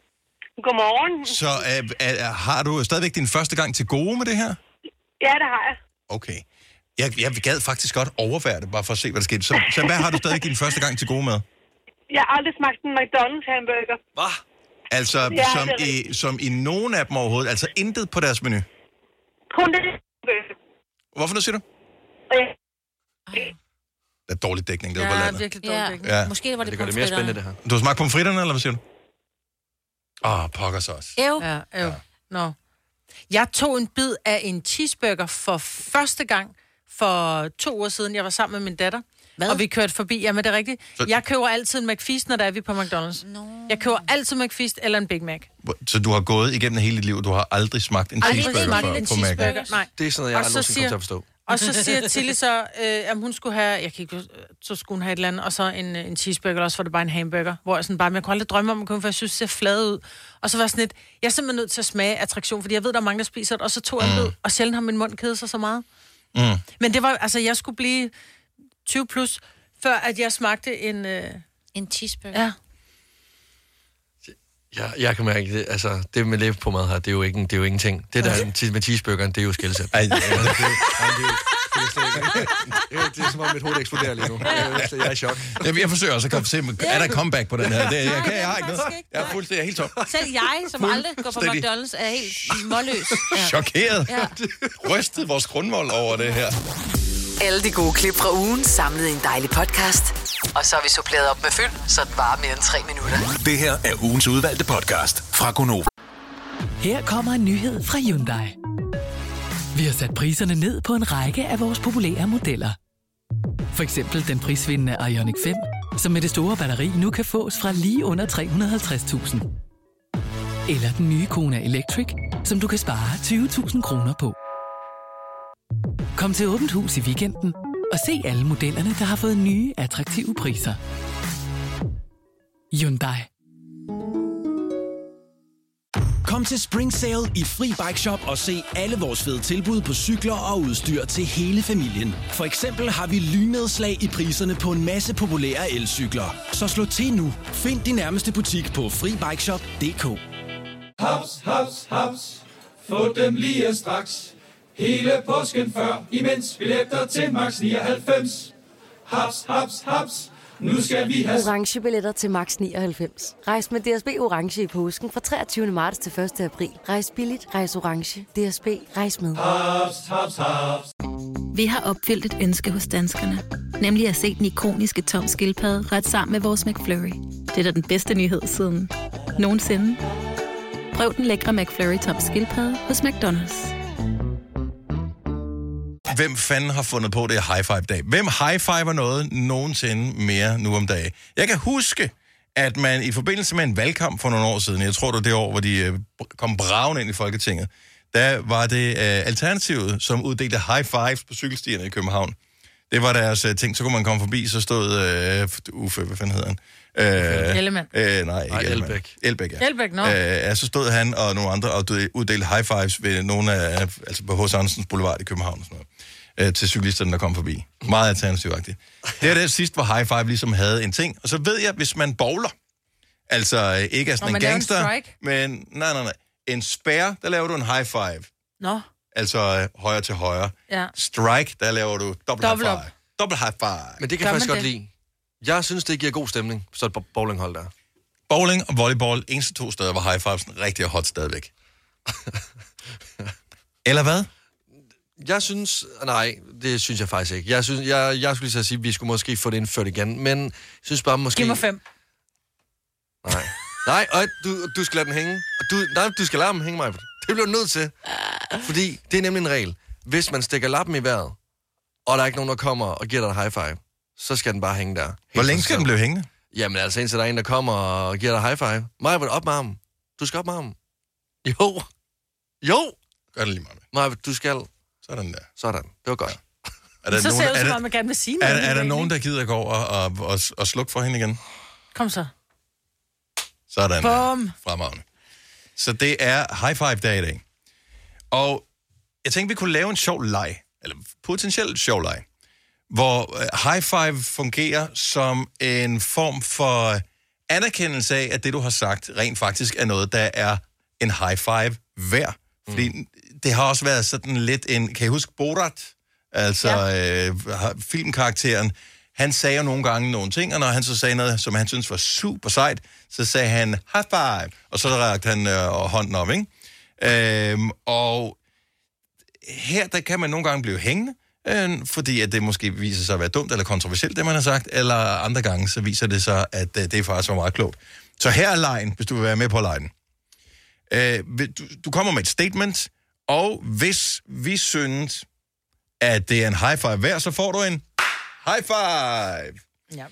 Godmorgen.
Så øh, øh, har du stadigvæk din første gang til gode med det her?
Ja, det har jeg.
Okay. Jeg, jeg gad faktisk godt overvære det, bare for at se, hvad der skete. Så, så hvad har du stadig din første gang til gode med?
Jeg har aldrig smagt en McDonald's hamburger.
Hvad?
Altså,
Ja, det er
ja, som, i,
rigtigt.
som i nogen af dem overhovedet. Altså, intet på deres menu.
Kun det hamburger.
Hvorfor noget siger du?
Og jeg-
Der er dårlig dækning, det er
Ja,
på landet.
virkelig dårligt.
Ja.
Ja. Måske var det,
her.
Du har smagt pomfritterne, eller hvad siger du? Åh, oh, pokker så også.
Æv. Ja, æv. Ja. Nå. Jeg tog en bid af en cheeseburger for første gang for to uger siden. Jeg var sammen med min datter. Hvad? Og vi kørte forbi. Jamen, det er rigtigt. Så... Jeg køber altid en McFeast, når der er vi på McDonald's. No. Jeg køber altid McFeast eller en Big Mac.
Så du har gået igennem hele dit liv, og du har aldrig smagt en
Aldrig
cheeseburger
smagt
fra-
en
på Mac'en?
cheeseburger, nej.
Det er sådan noget, jeg
Og
aldrig
så siger-
nogensinde kommer til at forstå.
Og så siger Tilly så, øh, at hun skulle have, jeg kan ikke, huske, øh, så skulle hun have et eller andet, og så en, øh, en cheeseburger, eller også var det bare en hamburger, hvor jeg sådan bare, men jeg kunne aldrig drømme om at komme, for jeg synes, det ser flad ud. Og så var jeg sådan lidt, jeg er simpelthen nødt til at smage attraktion, fordi jeg ved, der er mange, der spiser det, og så tog jeg en bid, og sjældent har min mund kedet sig så meget.
Mm.
Men det var, altså, jeg skulle blive 20 plus, før at jeg smagte en... Øh...
En cheeseburger?
Ja.
Jeg, jeg kan mærke det. Altså, det med læbe på mad her, det er jo, ikke, en- det er jo ingenting. Det der er en cheese- med cheeseburgeren, det er jo skældsat. Ej, det, det er, det er som om mit hoved eksploderer lige nu. Jeg, jeg er i chok.
Jeg, jeg forsøger også at komme se, om- er der et comeback på den her? Det, jeg, kan, jeg har ikke noget. Jeg er fuldstændig jeg er helt tom.
Selv jeg, som aldrig går på
Fuldstændig.
McDonald's, er helt målløs. Ja.
Chokeret.
Ja.
Rystet vores grundvold over det her.
Alle de gode klip fra ugen samlet i en dejlig podcast. Og så har vi suppleret op med fyld, så det varer mere end tre minutter.
Det her er ugens udvalgte podcast fra Gonova.
Her kommer en nyhed fra Hyundai. Vi har sat priserne ned på en række af vores populære modeller. For eksempel den prisvindende Ioniq 5, som med det store batteri nu kan fås fra lige under 350.000. Eller den nye Kona Electric, som du kan spare 20.000 kroner på. Kom til Åbent Hus i weekenden og se alle modellerne, der har fået nye, attraktive priser. Hyundai.
Kom til Spring Sale i Fri Bike Shop og se alle vores fede tilbud på cykler og udstyr til hele familien. For eksempel har vi lynedslag i priserne på en masse populære elcykler. Så slå til nu. Find din nærmeste butik på FriBikeShop.dk
Haps, haps, haps. Få dem lige straks. Hele påsken før, imens billetter til max 99. Haps, haps, haps. Nu skal vi have...
orange billetter til max 99. Rejs med DSB orange i påsken fra 23. marts til 1. april. Rejs billigt, rejs orange. DSB rejs med.
Ah, Haps, haps, haps.
Vi har opfyldt et ønske hos danskerne. Nemlig at se den ikoniske tom skildpadde ret sammen med vores McFlurry. Det er da den bedste nyhed siden nogensinde. Prøv den lækre McFlurry tom skildpadde hos McDonald's.
Hvem fanden har fundet på det high five dag? Hvem high fiver noget nogensinde mere nu om dagen? Jeg kan huske, at man i forbindelse med en valgkamp for nogle år siden, jeg tror det var det år, hvor de øh, kom braven ind i Folketinget, der var det øh, Alternativet, som uddelte high fives på cykelstierne i København. Det var deres øh, ting. Så kunne man komme forbi, så stod øh, Uffe, hvad fanden hedder han? Øh,
Ellemann.
Øh, nej, ikke Ellemann. Elbæk, ja.
Elbæk, nå.
Øh, ja, så stod han og nogle andre og du- uddelte high fives ved nogle af, altså på H.C. Andersens Boulevard i København og sådan noget, øh, til cyklisterne, der kom forbi. Meget alternativagtigt. Det er det sidst, hvor high five ligesom havde en ting. Og så ved jeg, hvis man bowler, altså øh, ikke er
Når
sådan
man
en
laver en
gangster,
strike?
men nej, nej, nej, en spær, der laver du en high five,
Nå,
altså øh, højre til højre.
ja.
Strike, der laver du dobbelt high
Dobbelt
five. Dobbelt high five.
Men det kan
Gør
jeg faktisk
man
godt
det?
lide. Jeg synes, det giver god stemning, så et bowlinghold der.
Bowling og volleyball, eneste to steder, hvor high fives rigtig er hot stadigvæk. Eller hvad?
Jeg synes... Nej, det synes jeg faktisk ikke. Jeg, synes, jeg, jeg skulle lige så sige, at vi skulle måske få det indført igen, men jeg synes bare måske...
Giv mig fem.
Nej. Nej, og du, du skal lade den hænge. Og Du, nej, du skal lade dem hænge mig. Det bliver du nødt til. Fordi det er nemlig en regel. Hvis man stikker lappen i vejret, og der er ikke nogen, der kommer og giver dig en high five, så skal den bare hænge der. Helt
Hvor længe
for sig
skal den
selv.
blive hængende?
Jamen altså, indtil der er en, der kommer og giver dig high five. Maja, op med ham. Du skal op med ham. Jo. Jo.
Gør det lige meget.
Maja, du skal.
Sådan der.
Sådan. Det var godt.
så
Er
ser det ud,
er,
som
der,
om man gerne vil sige
er,
noget.
er der nogen, der gider gå over og, og, og, og slukke for hende igen?
Kom så.
Sådan.
Bum.
Fremragende. Så det er high five dag i dag. Og jeg tænkte, vi kunne lave en sjov leg, eller potentielt sjov leg, hvor øh, high five fungerer som en form for anerkendelse af, at det, du har sagt, rent faktisk er noget, der er en high five værd. Fordi det har også været sådan lidt en... Kan I huske Borat? Altså ja. øh, har- filmkarakteren. Han sagde jo nogle gange nogle ting, og når han så sagde noget, som han syntes var super sejt, så sagde han high five, og så rakte han øh, hånden op, ikke? Øhm, og her, der kan man nogle gange blive hængende, øh, fordi at det måske viser sig at være dumt eller kontroversielt, det man har sagt, eller andre gange, så viser det sig, at øh, det faktisk var meget klogt. Så her er lejen, hvis du vil være med på lejen. Øh, vil- du, du kommer med et statement, og hvis vi synes, at det er en high five værd, så får du en high five.
Ja.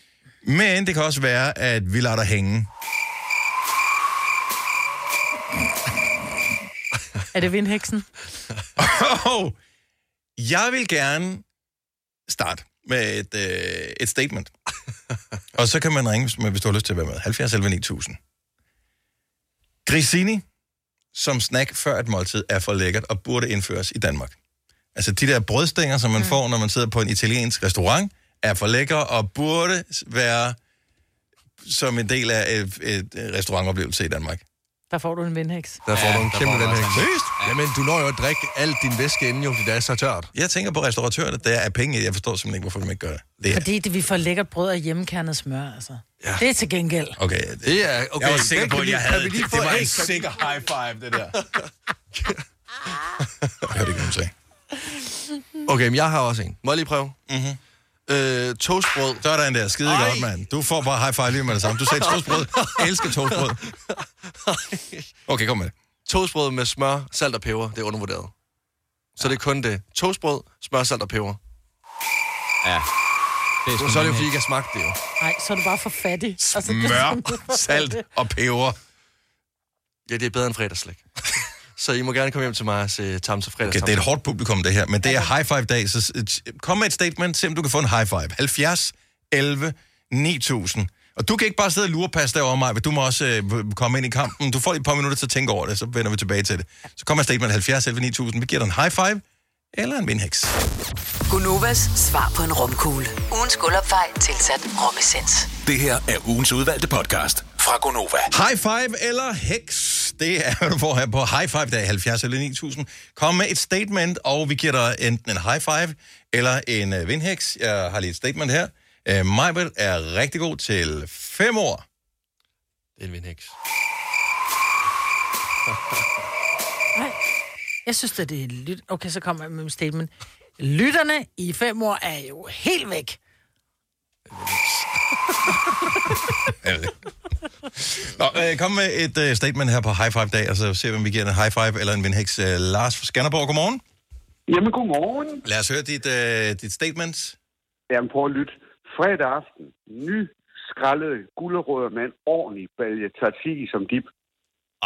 Men det kan også være, at vi lader dig hænge.
Er det vindheksen?
Og jeg vil gerne starte med et, øh, et statement. og så kan man ringe, hvis, man- hvis du har lyst til at være med. 70 11 9000. Grissini som snack før et måltid er for lækkert og burde indføres i Danmark. Altså de der brødstænger, som man mm. får, når man sidder på en italiensk restaurant, er for lækre og burde være som en del af et, et restaurantoplevelse i Danmark.
Der får du en vindheks.
Der får
Ja,
du en
der
kæmpe
får du
den
altså
her.
en-
Seriøst? Jamen, du når jo at drikke alt din væske inden, jo, fordi det er så tørt.
Jeg tænker på restauratørerne, der er penge i. Jeg forstår simpelthen ikke, hvorfor de ikke gør det. det. er-
Fordi det, vi får lækkert brød og hjemmekernet smør, altså. Ja. Det er til gengæld.
Okay,
det er... Okay,
jeg var sikker på, at jeg havde... Det, det var en
ikke
sikker high five, det der. Jeg hørte ikke, hvad hun sagde.
Okay, men jeg har også en. Må jeg lige prøve?
Mm-hmm.
Øh, toastbrød.
Sådan der, skide godt, mand. Du får bare high five lige med det samme. Du sagde toastbrød. Jeg elsker toastbrød. Okay, kom med det.
Toastbrød med smør, salt og peber, det er undervurderet. Så det er kun det. Toastbrød, smør, salt og peber. Ja. Det er så er det jo, fordi I ikke har smagt det jo.
Nej, så er du bare for fattig. Altså, det er sådan, du er
Mør,
for
salt
fattig.
og peber.
Ja, det er bedre end fredagsslik. så I må gerne komme hjem til mig og se Tam til fredags.
Okay, det er et hårdt publikum, det her, men det er high five dag, så s- t- kom med et statement, se om du kan få en high five. 70, 11, 9000. Og du kan ikke bare sidde og lure og passe derovre mig, men du må også øh, komme ind i kampen. Du får lige et par minutter til at tænke over det, så vender vi tilbage til det. Så kommer statement 70 11 9000. Vi giver dig en high five eller en vindhæks.
Gunovas svar på en rumkugle. Ugens guldopfej tilsat romessens.
Det her er ugens udvalgte podcast fra Gonova.
High five eller heks, det er, hvad du får her på High Five Dag 70 eller 9000. Kom med et statement, og vi giver dig enten en high five eller en øh, vindhæks. Jeg har lige et statement her. Øh, Majbert er rigtig god til fem år.
Det er en vindhæks.
Nej. Jeg synes, at det er lyt... Okay, så kommer jeg med min statement. Lytterne i fem år er jo helt væk.
Er det det? Nå, øh, kom med et øh, statement her på High Five Dag, og så ser vi, om vi giver en high five eller en vindhæks. Øh, Lars fra Skanderborg, godmorgen.
Jamen, godmorgen.
Lad os høre dit, øh, dit statement.
Jamen, prøv at lytte. Fredag aften, ny skraldede gulerødder med en ordentlig balje tartini som dip.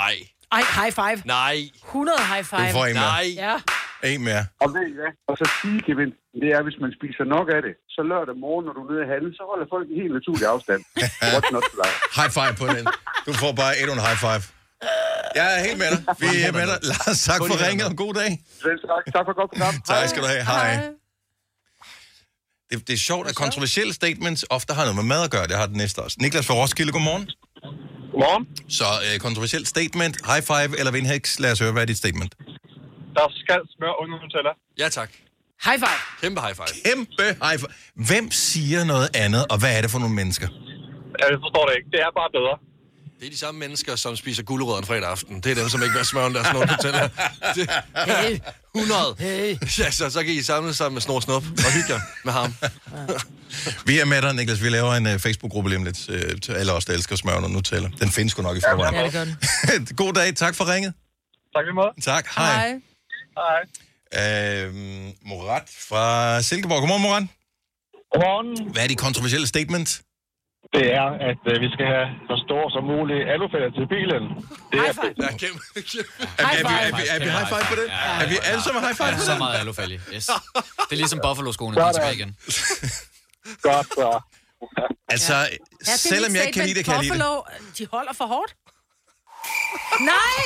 Ej.
Ej, high five.
Nej.
100 high five.
Du får en mere. Nej.
Ja.
En mere.
Og ved I hvad? Og så sidegevinsten, det er, hvis man spiser nok af det, så lørdag morgen, når du er nede i handel, så holder folk en helt naturlig afstand. What's not to like?
High five på den. Du får bare endnu en high five. Jeg er helt med dig. Vi er med dig. Lars, tak for ringet, og god dag.
Selv tak. Tak for godt program.
Tak skal du have. Hej. Det, det er sjovt, at kontroversielle statements ofte har noget med mad at gøre. Det har det næste også. Niklas fra Roskilde, godmorgen.
Godmorgen.
Så øh, kontroversielt statement, high five eller vindhæks. Lad os høre, hvad er dit statement?
Der skal smør under Nutella.
Ja, tak.
High five.
Kæmpe high five.
Kæmpe high five. Hvem siger noget andet, og hvad er det for nogle mennesker?
Jeg forstår det ikke. Det er bare bedre. Det er de samme mennesker, som spiser gulerødder en fredag aften. Det er dem, som ikke vil smøre deres snor til det. Hey. 100. Hey. Ja, så, så kan I samle sammen med Snor Snup og hygge jer med ham.
Vi er med dig, Niklas. Vi laver en uh, Facebook-gruppe lige om lidt uh, til alle os, der elsker smør og Nutella. Den findes sgu nok i forvejen.
gør den.
God dag. Tak for ringet.
Tak lige måde.
Tak. Hej.
Hej.
Øhm, Morat fra Silkeborg. Godmorgen, Morat.
Godmorgen.
Hvad er dit kontroversielle statement?
Det er, at øh, vi skal have så store som muligt alufælder til bilen. Det er fedt.
Ja, kæmpe, Er, vi- er, vi, er, vi, er vi high five på den? Er vi alle sammen high five på
Ja, så
den?
meget alufælge. Yes. Det er ligesom Buffalo-skoene, de er tilbage igen.
Godt, så.
Altså,
Ja, det er
selvom
mit
jeg ikke kan
statement.
lide det, kan jeg lide det.
Buffalo, de holder for hårdt. Nej!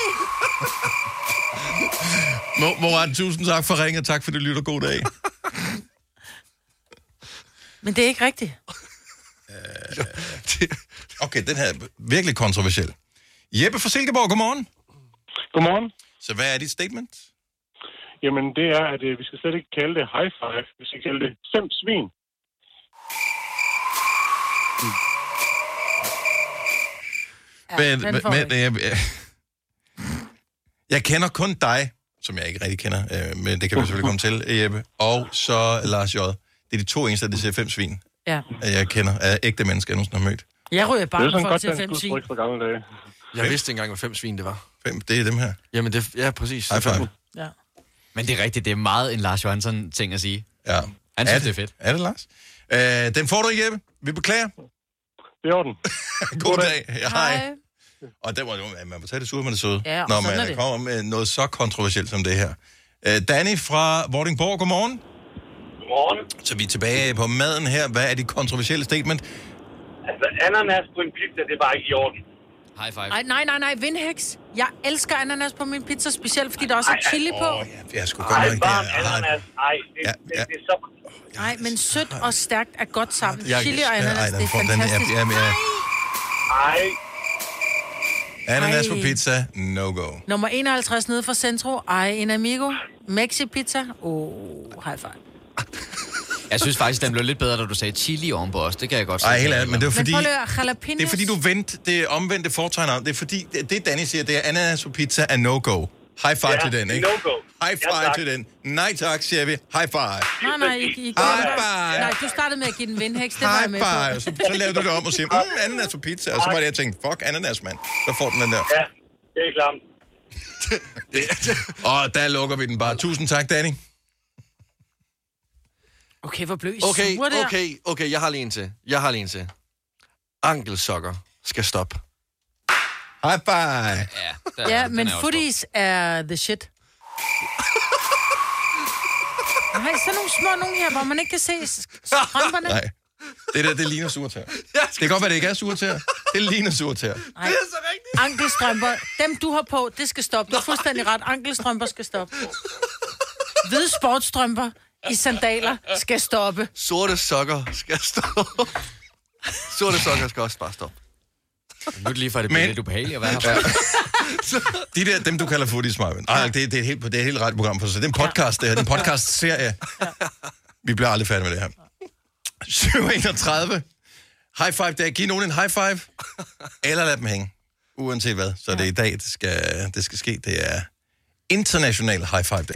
Mo- Morat, tusind tak for ringet. Tak for det lytter. God dag.
Men det er ikke rigtigt.
Okay, den her er virkelig kontroversiel. Jeppe fra Silkeborg, godmorgen.
Godmorgen.
Så hvad er dit statement?
Jamen, det er, at øh, vi skal slet ikke kalde det high five. Vi skal kalde det fem svin.
Ja, men,
den
men,
får
men, jeg, jeg, jeg kender kun dig, som jeg ikke rigtig kender, øh, men det kan vi selvfølgelig komme til, Jeppe, og så Lars J. Det er de to eneste, der siger fem svin,
Ja.
øh, jeg kender, af ægte mennesker, jeg nogensinde har mødt.
Jeg ryger
Det
bare
er sådan
for
godt
til
dansk
fem svin.
udtryk
for gamle dage.
Jeg vidste ikke engang, hvad fem svin det var.
Fem, det er dem her.
Jamen, det, ja, præcis.
High five.
Ja.
Men det er rigtigt, det er meget en Lars Johansson ting at sige.
Ja.
Han synes, det er fedt.
Er det, Lars? Øh, den får du, Jeppe. Vi beklager.
Det er orden.
God dag. Hej. Og den må, man må tage det sure med det søde,
Ja, og
når
sådan er
man
det.
kommer med noget så kontroversielt som det her. Øh, Danny fra Vordingborg, godmorgen.
Godmorgen.
Så vi er tilbage på maden her. Hvad er dit kontroversielle statement?
Altså, ananas på en pizza, det er bare ikke i orden.
High five.
Ej, nej, nej, nej, vindhæks. Jeg elsker ananas på min pizza, specielt fordi der også
Ej,
er
ej,
chili på.
Åh, jeg, jeg skulle godt nok ikke...
Bare
det er-
ananas. Ej, det,
Ja,
det,
ja.
det, er så...
Nej, men sødt og stærkt er godt sammen.
Jeg-
Chili og
Ej,
ananas,
den
det er
får- den er-
fantastisk.
jamen, jeg-
Ej.
Ananas på
Ej.
pizza, no go.
Nummer 51 nede fra Centro. Ej, en amigo. Mexi pizza. Oh, high five.
Jeg synes faktisk, den blev lidt bedre, da du sagde chili ovenpå os. Det kan jeg godt
Ej, helt ærligt, men det var
Men
fordi...
prøv lige at høre, jalapenos.
Det er fordi, du vendte det omvendte foretegn om. Det er fordi, det, det Danny siger, det er ananas på pizza er no-go. High five
Ja,
til den, ikke?
no-go.
High
Ja,
five
tak.
til den. Nej tak, siger vi. High five.
Nej, nej, I, I
High
godt.
five.
Nej, du startede med at give den vindhæks. Det var jeg
High
med på.
five. Så, så lavede du det om og siger, mm, ananas på pizza. Og så var det, jeg tænkte, fuck ananas, mand. Så får den den der.
Ja, det er klart.
Og der lukker vi den bare. Tusind tak, Danny.
Okay, hvor blev I
Okay,
sure der?
okay, okay, jeg har lige en til. Jeg har lige en til. Ankelsokker skal stoppe.
High five.
Ja, men footies er the shit. Nej, så nogle små nogle her, hvor man ikke kan se s- strømperne.
Nej. Det der, det ligner surtær. Det kan godt være, det ikke er surtær. Det ligner surtær.
Nej. Det er så rigtigt. Ankelstrømper, dem du har på, det skal stoppe. Du har fuldstændig ret. Ankelstrømper skal stoppe. Hvide sportstrømper i sandaler Øh. skal stoppe.
Sorte sokker skal stå. Sorte sokker skal også bare stoppe.
Nu er det lige for, at det bliver lidt ubehageligt at være her.
De der, dem du kalder foodies, Marvin. Ej, det, det, er et helt, det er et helt ret program for sig. Det er en podcast, det her. Det er en podcast-serie. Vi bliver aldrig færdige med det her. 731. High five dag. Giv nogen en high five. Eller lad dem hænge. Uanset hvad. Så det er i dag, det skal, det skal ske. Det er international high five dag.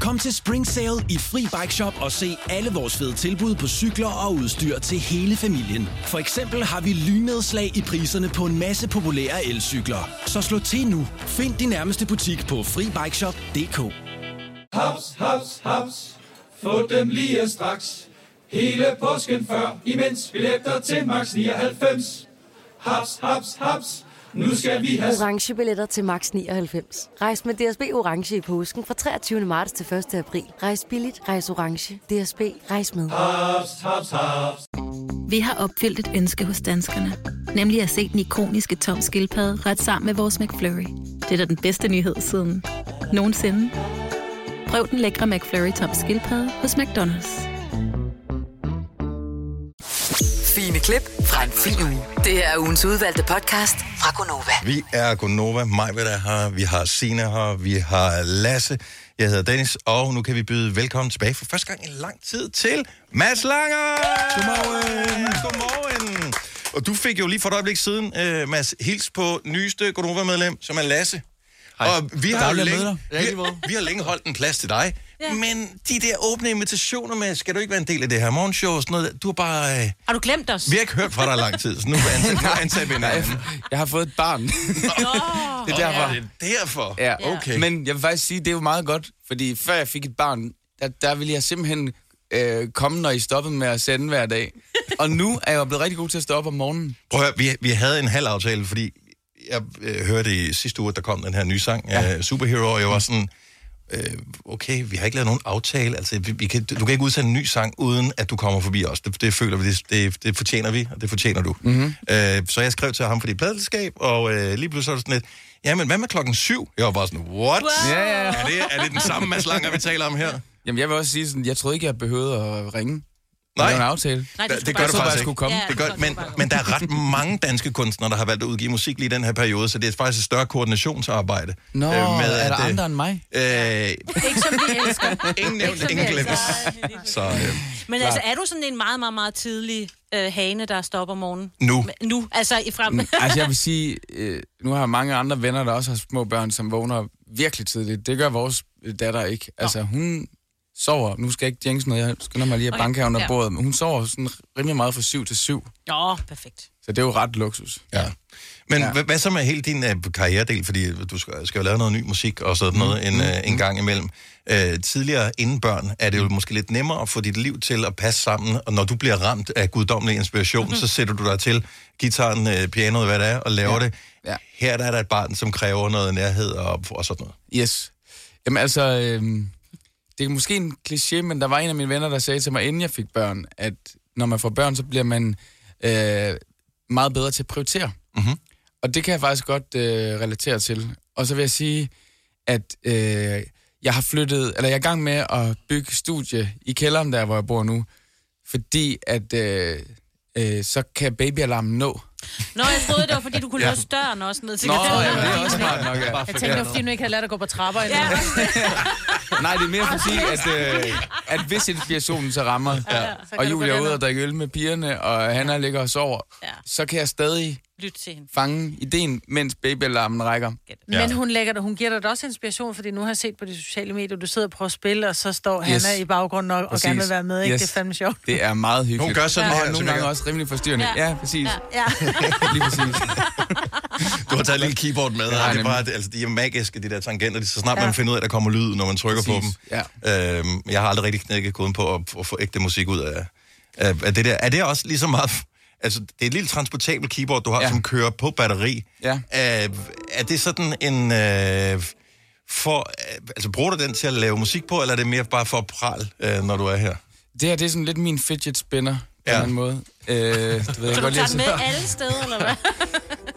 Kom til Spring Sale i Fri Bike Shop og se alle vores fede tilbud på cykler og udstyr til hele familien. For eksempel har vi lynedslag i priserne på en masse populære elcykler. Så slå til nu. Find din nærmeste butik på FriBikeShop.dk
Haps, haps, haps. Få dem lige straks. Hele påsken før, imens billetter til max 99. Haps, haps, haps. Nu skal vi have...
orange billetter til max 99. Rejs med DSB orange i påsken fra 23. marts til 1. april. Rejs billigt, rejs orange. DSB rejs med.
Haps, haps, haps.
Vi har opfyldt et ønske hos danskerne. Nemlig at se den ikoniske tom skildpadde ret sammen med vores McFlurry. Det er da den bedste nyhed siden nogensinde. Prøv den lækre McFlurry tom skildpadde hos McDonald's.
Fine klip fra en fin uge. Det her er ugens udvalgte podcast fra Gonova.
Vi er Gonova, mig ved der her, vi har Sina her, vi har Lasse, jeg hedder Dennis, og nu kan vi byde velkommen tilbage for første gang i lang tid til Mads Langer! Godmorgen! Godmorgen! Og du fik jo lige for et øjeblik siden, øh, Mads, hils på nyeste Gonova-medlem, som er Lasse. Hej. Og vi har, jo
Dejligt at møde
længe,
dig.
vi, vi har længe holdt en plads til dig, ja. men de der åbne invitationer med, skal du ikke være en del af det her morgenshow og sådan noget, du har bare... Øh,
Har du glemt os?
vi har ikke hørt fra dig i lang tid, så nu ansætter nu ansætter vi en anden.
Jeg har fået et barn. det er derfor.
Ja, det er derfor.
Ja,
okay.
Men jeg vil faktisk sige, det er jo meget godt, fordi før jeg fik et barn, der, der ville jeg simpelthen øh, komme, når I stoppede med at sende hver dag. Og nu er jeg jo blevet rigtig god til at stå op om morgenen.
Prøv at høre, vi, vi havde en halv aftale, fordi jeg øh, hørte i sidste uge, at der kom den her nye sang, ja. øh, Superhero, og jeg var sådan, øh, okay, vi har ikke lavet nogen aftale, altså vi, vi kan, du kan ikke udsende en ny sang, uden at du kommer forbi os. Det, det føler vi, det, det, det fortjener vi, og det fortjener du.
Mhm.
Mm-hmm. Øh, så jeg skrev til ham for dit pladselskab, og øh, lige pludselig så var det sådan lidt, jamen hvad med klokken syv? Jeg var bare sådan, what?
Wow. Ja, ja, ja.
Er, det, er det den samme Mads Langer, vi taler om her?
Jamen, jeg vil også sige sådan, jeg troede ikke, jeg behøvede at ringe.
Nej.
Det var en aftale.
Nej, det, det
Jeg
gør du
troede bare, jeg
faktisk ikke.
skulle komme.
det gør, men, men der er ret mange danske kunstnere, der har valgt at udgive musik lige i den her periode, så det er faktisk et større koordinationsarbejde.
Nå, er der
øh,
andre end mig?
Øh,
Ikke som vi elsker.
Ingen
Ikke som
nævnt,
vi
ingen
elsker.
glemt. Så øh,
Men altså, er du sådan en meget, meget, meget tidlig øh, hane, der stopper om morgenen?
Nu.
Men- Nu, altså i frem.
Mm, altså jeg vil sige, øh, nu har jeg mange andre venner, der også har små børn, som vågner virkelig tidligt. Det gør vores øh, datter ikke. Altså hun sover, nu skal jeg ikke jinx noget, jeg skynder mig lige at
Okay,
okay. banke her under
ja.
bordet, men hun sover sådan rimelig meget fra syv til syv.
Nå, perfekt.
Så det er jo ret luksus.
Ja. Men ja. hvad så med hele din øh, karrieredel? Fordi du skal, skal jo lave noget ny musik og sådan noget en, øh, en gang imellem. Øh, tidligere inden børn er det jo måske lidt nemmere at få dit liv til at passe sammen, og når du bliver ramt af guddommelig inspiration, mm-hmm. så sætter du dig til gitaren, øh, pianoet, hvad det er, og laver ja. det. Ja. Her der er der et barn, som kræver noget nærhed og, og sådan noget.
Yes. Jamen altså, øh, det er måske en kliché, men der var en af mine venner, der sagde til mig, inden jeg fik børn, at når man får børn, så bliver man øh, meget bedre til at prioritere.
Mm-hmm.
Og det kan jeg faktisk godt øh, relatere til. Og så vil jeg sige, at øh, jeg har flyttet, eller jeg er i gang med at bygge studie i kælderen der, hvor jeg bor nu, fordi at øh, øh, så kan babyalarmen nå.
Nå, jeg troede, det var, fordi du kunne
Ja.
låse døren også ned til
Nå,
kaféen.
ja, det er også smart nok, ja.
Jeg tænkte, det var fordi, du ikke havde lært at gå på trapper endnu. Ja.
Nej, det er mere for at sige, at, øh, at hvis inspirationen så rammer,
Ja, ja.
ja,
Så kan
og
du gå
Julia er
derned.
ude og drikke øl med pigerne, og Hanna ligger og sover, ja. så kan jeg stadig
Lyt til hende.
fange ideen, mens babyalarmen rækker.
Ja. Men hun, lægger, det- hun giver dig da også inspiration, fordi nu har jeg set på de sociale medier, du sidder og prøver at spille, og så står yes.
Yes.
Hanna i baggrunden og, og
Præcis.
gerne vil være med. Ikke?
Yes.
Det er fandme sjovt.
Det er meget hyggeligt.
Hun gør sådan
og
her,
nogle
Sofie.
gange også rimelig forstyrrende. Ja, ja præcis. Ja.
Ja.
Lige præcis.
Du har taget et lille keyboard med, og
har jeg
det er bare,
nemlig.
altså, de er magiske, de der tangenter. Så snart
Ja.
ja. man finder ud af, at der kommer lyd, når man trykker Præcis.
Præcis,
på dem. Ja. Øhm, jeg har aldrig rigtig knækket koden på at, at få ægte musik ud af, af, af det der. Er det også ligesom meget... Altså, det er et lille transportabelt keyboard, du har, ja. som kører på batteri.
Ja.
Øh, er det sådan en... Øh, for, øh, altså, bruger du den til at lave musik på, eller er det mere bare for at prale, øh, når du er her?
Det her, det er sådan lidt min fidget spinner, på ja. en eller anden måde. Øh, det ved jeg
Så du
godt lige,
tager
at
den med
sidde-
alle steder, eller hvad?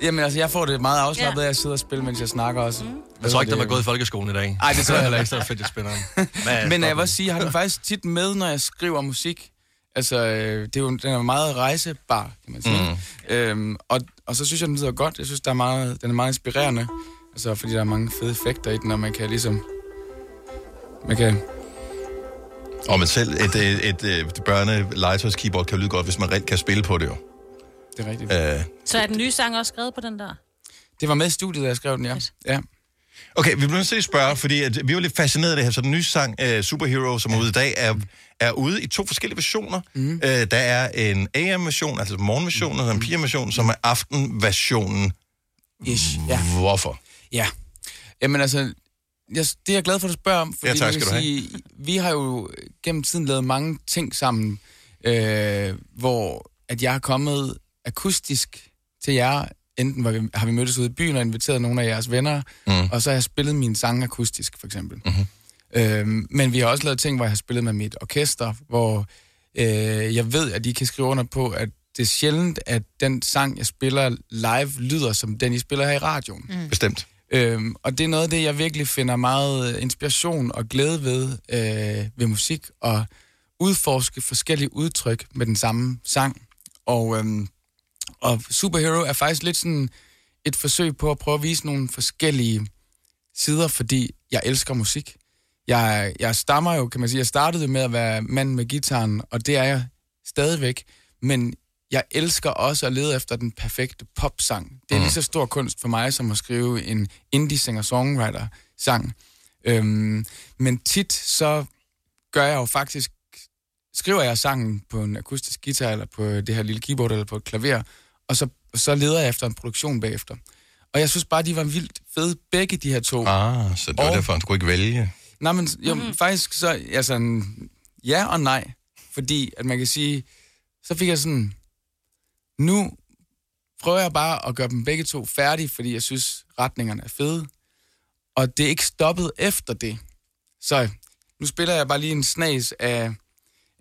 Jamen altså, jeg får det meget afslappet
Ja.
af at sidde og spille, mens jeg snakker også. Mm.
Jeg tror ikke, den var gået i folkeskolen i dag.
Ej, det tror jeg heller ikke.
Så er det fedt, at spænder
Men øh, jeg vil også sige, jeg har den faktisk tit med, når jeg skriver musik. Altså, øh, det er jo, den er meget rejsebar, kan
øh,
man sige. Mm. Øhm, og, og så synes jeg, den lyder godt. Jeg synes, der er meget, den er meget inspirerende. Altså, fordi der er mange fede effekter i den, og man kan ligesom... Man kan...
Og men selv et, et, et, et børne-legetøjs-keyboard kan jo lyde godt, hvis man reelt kan spille på det jo.
Det er rigtigt.
Øh,
Så er den nye sang også skrevet på den der?
Det var med i studiet, da jeg skrev den, ja. ja.
Okay, vi bliver nødt til at spørge, fordi at vi var lidt fascineret af det her. Så den nye sang, uh, Superhero, som er ude i dag, er, er ude i to forskellige versioner. Mm. Uh, der er en AM-version, altså morgenversionen,
Mm.
og en piger-version, som er aftenversionen.
Ish, ja.
Hvorfor?
Ja. Jamen altså, jeg, det er jeg glad for, at du spørger om. Fordi
Ja, tak
man
skal
kan
du have.
sige, Vi har jo gennem tiden lavet mange ting sammen, øh, hvor at jeg er kommet akustisk til jer. Enten var vi, har vi mødtes ude i byen og inviteret nogle af jeres venner, mm. og så har jeg spillet min sang akustisk, for eksempel. Mm-hmm. Øh, men vi har også lavet ting, hvor jeg har spillet med mit orkester, hvor øh, jeg ved, at I kan skrive under på, at det er sjældent, at den sang, jeg spiller live, lyder som den, I spiller her i radioen.
Mm. Bestemt.
Øhm, og det er noget af det, jeg virkelig finder meget øh, inspiration og glæde ved, øh, ved musik, og udforske forskellige udtryk med den samme sang. Og, øhm, og Superhero er faktisk lidt sådan et forsøg på at prøve at vise nogle forskellige sider, fordi jeg elsker musik. Jeg, jeg stammer jo, kan man sige, jeg startede jo med at være mand med gitaren, og det er jeg stadigvæk, men jeg elsker også at lede efter den perfekte popsang.
Mm.
Det er lige så stor kunst for mig, som at skrive en indie-singer-songwriter-sang. Øhm, men tit så gør jeg jo faktisk, skriver jeg sangen på en akustisk guitar, eller på det her lille keyboard, eller på et klaver, og så, så leder jeg efter en produktion bagefter. Og jeg synes bare, de var vildt fede, begge de her to.
Ah, så det var
Og-
derfor, han skulle ikke vælge.
Nej, men jo,
Mm-hmm.
mm. faktisk så, altså, en ja og nej. Fordi, at man kan sige, så fik jeg sådan, nu prøver jeg bare at gøre dem begge to færdige, fordi jeg synes, retningerne er fede. Og det er ikke stoppet efter det. Så nu spiller jeg bare lige en snas af,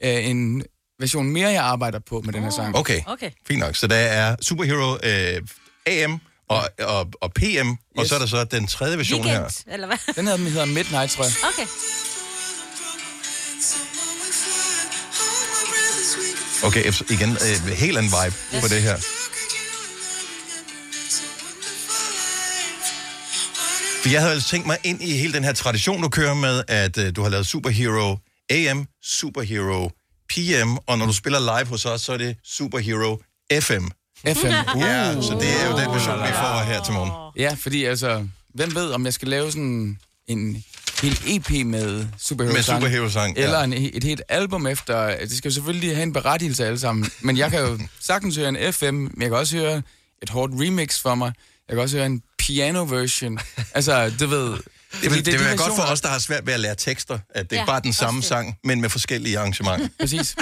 af en version mere, jeg arbejder på med den
Oh.
her sang.
Okay. okay, fint nok. Så der er Superhero øh, AM og, og, og PM, yes. og så er der så den tredje version her.
Weekend, eller hvad?
Den her den hedder Midnight, tror jeg.
Okay.
Okay, ef- igen, øh, helt anden vibe yes. på det her. For jeg havde altså tænkt mig ind i hele den her tradition, du kører med, at øh, du har lavet Superhero AM, Superhero PM, og når du spiller live hos os, så er det Superhero FM.
FM.
Ja, så det er jo den version, vi får her til morgen.
Ja, fordi altså, hvem ved, om jeg skal lave sådan en hel EP med superhero
Med superhero-sang, ja.
Eller en, et helt album efter. Det skal jo selvfølgelig have en berettigelse alle sammen. Men jeg kan jo sagtens høre en FM, men jeg kan også høre et hårdt remix for mig. Jeg kan også høre en piano-version. Altså, du ved...
Det
fordi
vil, det, det
er
vil
de
være godt for
versioner-
os, der har svært ved at lære tekster, at det ja,
Ja,
er bare den
også
samme
det.
sang, men med forskellige arrangementer.
Præcis.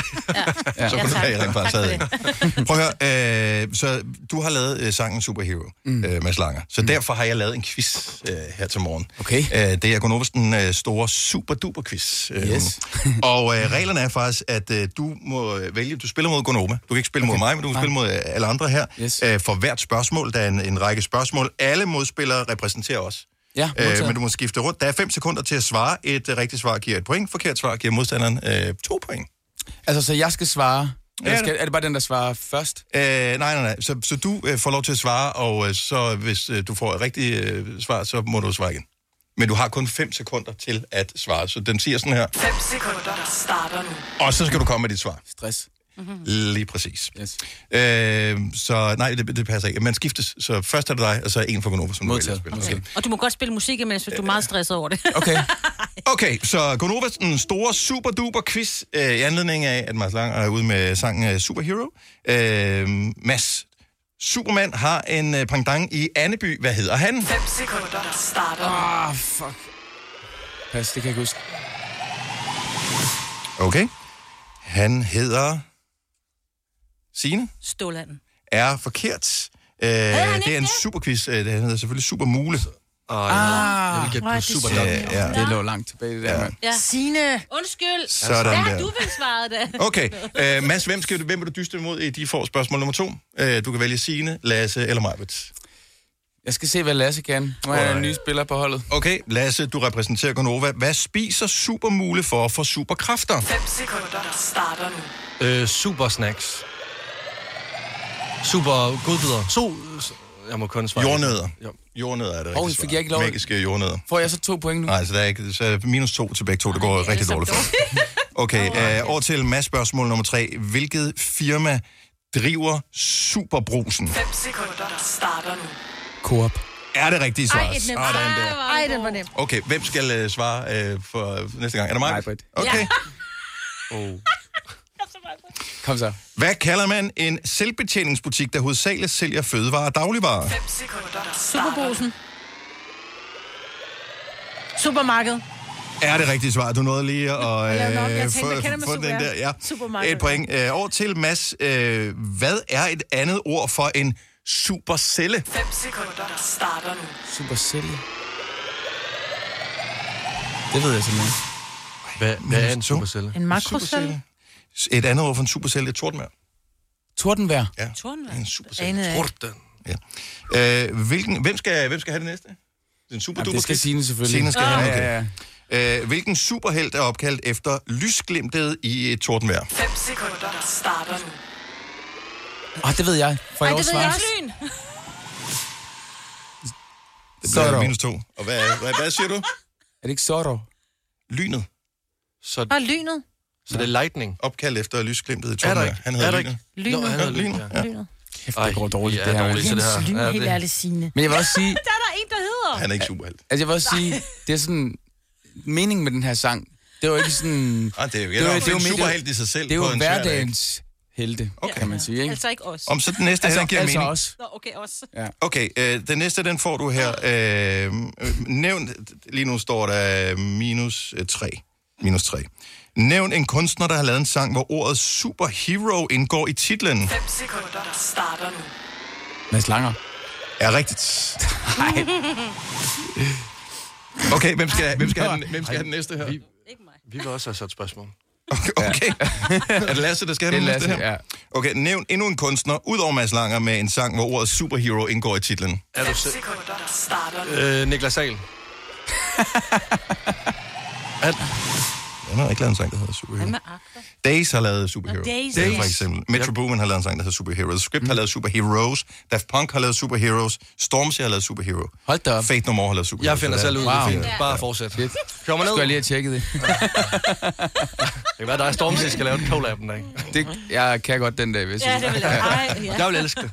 Ja. Så kunne du
tak.
have rent
Tak
faktisk
for
taget det. Prøv at høre, øh, så du har lavet øh, sangen Superhero, mm. øh, Mads Langer. Så mm. derfor har jeg lavet en quiz øh, her til morgen.
Okay.
Øh, det er Gunovas den øh, store superduper-quiz. Øh,
Yes.
og øh, reglerne er faktisk, at øh, du må øh, vælge, du spiller mod Gonova. Du kan ikke spille mod
Okay.
mig, men du kan
Nej.
spille mod øh, alle andre her.
Yes.
Øh, for hvert spørgsmål, der er en, en række spørgsmål. Alle modspillere repræsenterer os.
Ja,
Øh,
modtaget.
men du må skifte rundt. Der er 5 sekunder til at svare. Et øh, rigtigt svar giver et point. Forkert svar giver modstanderen øh, to point.
Altså, så jeg skal svare...
Ja,
Eller skal, er det bare den, der svarer først?
Øh, nej, nej, nej. Så, så du øh, får lov til at svare, og øh, så hvis øh, du får et rigtigt øh, svar, så må du svare igen. Men du har kun 5 sekunder til at svare, så den siger sådan her.
5 sekunder starter nu.
Og så skal du komme med dit svar.
Stress.
Mm-hmm. Lige præcis. Yes. Øh, så nej, det, det passer ikke. Man skiftes, så først er det dig, og så er en for Gonova, som Modtaget. du vælger at spille.
Og du må godt spille musik imens, hvis du er meget stresset over det.
Okay. Okay, så Gonovas den store super duper quiz øh, i anledning af, at Mads Lang er ude med sangen øh, Superhero. Øh, Mads, Superman har en øh, pendant i Anneby. Hvad hedder han?
5 sekunder starter.
Ah, fuck. Pas, det kan jeg ikke huske.
Okay. Han hedder... Signe?
Stålanden.
Er forkert. Øh, det er en superquiz. Øh, Den hedder selvfølgelig Super Mule.
Ah,
jeg vil
gætte på Super
Dog. Ja,
Det lå langt tilbage, det der, ja. mand.
Ja.
Signe.
Undskyld.
Sådan
Hvad
der.
har du vel svaret da?
Okay, øh, Mads, hvem, skal du, hvem vil du dyste imod i de får spørgsmål nummer to? Øh, du kan vælge Signe, Lasse eller Majbet.
Jeg skal se, hvad Lasse kan. Nu er han en ny spiller på holdet.
Okay, Lasse, du repræsenterer Gonova. Hvad spiser Supermule for for superkræfter?
5 sekunder starter nu.
Øh, super snacks. Super godbidder. So, jeg må kun svare.
Jordnødder. Jordnødder er det
fik
rigtige svar.
jeg ikke lov-
Magiske jordnødder.
Får jeg så to point nu?
Nej, så, der er ikke, så er minus to til begge to. Det går rigtig dårligt for. Okay, øh, over til Mads spørgsmål nummer tre. Hvilket firma driver Superbrusen?
5 sekunder starter nu.
Coop. Er det rigtige svar?
Ej, et nemt.
Sådan der.
Ej, den var nem.
Okay, hvem skal øh, svare øh, for næste gang? Er det mig? Majbrit. Okay. Ja. Oh.
Kom så.
Hvad kalder man en selvbetjeningsbutik, der hovedsageligt sælger fødevarer og dagligvarer?
5 sekunder starter
Superbrusen. Supermarked.
Er det rigtige svar? Du nåede lige at øh,
Jeg lavede nok. Jeg tænkte,
få-
jeg kender med
få den
super.
der. Ja.
Supermarked.
Et point. Øh, over til Mads. Øh, hvad er et andet ord for en supercelle?
5 sekunder starter nu.
Supercelle. Det ved jeg simpelthen
Hvad, hvad er en supercelle?
En makrocelle.
Et andet ord for en supercelle er tordenvejr.
Tordenvær.
Ja.
Tordenvær.
En supercelle.
Anede jeg ikke.
Torten.
Ja. Øh, hvilken, hvem, skal, hvem skal have det næste? Den super
Jamen, det skal Signe selvfølgelig.
Signe skal
Ah.
have det.
Ja,
Okay. Øh, hvilken superhelt er opkaldt efter lysglimtet i et tordenvejr?
5 sekunder starter nu.
Åh, Ah, det ved jeg. Får jeg
Ej,
også
det ved
svar?
jeg også.
Lyn.
Det
Zorro.
bliver minus to. Og hvad, hvad, hvad siger du?
Er det ikke Sordo?
Lynet.
Så,
Og lynet.
så det er lightning.
Opkaldt efter lysglimtet i
Er der
tordenvejr.
ikke?
Han
Er der
hedder
ikke?
Lynet.
Lynet.
Nå, han hedder Lynet, ja.
Lynet.
Kæft, det går dårligt,
I
det
er
her.
dårlige til det her.
Jens Lyn,
Ja,
helt
det-
ærligt Signe.
Men jeg vil også sige...
Der er der en, der hedder.
Han er ikke superhelt.
Altså, jeg vil også sige, det er sådan... Meningen med den her sang, det var ikke sådan...
Ah, det er jo ikke det er jo en superhelt i sig selv.
Det er
på
jo
en svær dag.
hverdagens helte, okay. kan man sige, ikke?
Altså ikke os.
Om så den næste
Altså-
altså, giver
altså
mening.
os.
Nå, okay, også.
Ja.
Okay, øh, den næste, den får du her. Øh, øh, nævn, lige nu står der øh, minus 3. Minus 3. Nævn en kunstner, der har lavet en sang, hvor ordet superhero indgår i titlen.
5 sekunder starter nu.
Mads Langer.
Er rigtigt. Okay, hvem skal, hvem skal, have, den, hvem skal have den næste her?
Vi vil også have sat spørgsmål.
Okay. er det Lasse, der skal have den
Det er
næste
Lasse,
her?
ja.
Okay, nævn endnu en kunstner, udover Mads Langer, med en sang, hvor ordet superhero indgår i titlen.
Er du
5
selv?
sekunder starter nu.
Øh, Niklas Sahl.
Han har ikke lavet en sang, der hedder Superhero.
Hvad med akter?
Days har lavet Superhero.
Nå, Days.
Det er for
Days.
eksempel. Metro Boomin har lavet en sang, der hedder Superhero. The Script mm. har lavet Superheroes. Daft Punk har lavet Superheroes. Stormzy har lavet Superhero.
Hold da op.
Fate No More har lavet Superhero.
Jeg finder
Så der-
selv ud af det. Fint. Bare fortsæt. Kør mig ned.
Skulle jeg lige have tjekket det?
Det kan være, der er Storm, skal lave en collab den dag.
det jeg kan godt den dag, hvis
Ja, det vil jeg. Ej, ja.
Jeg vil elske det.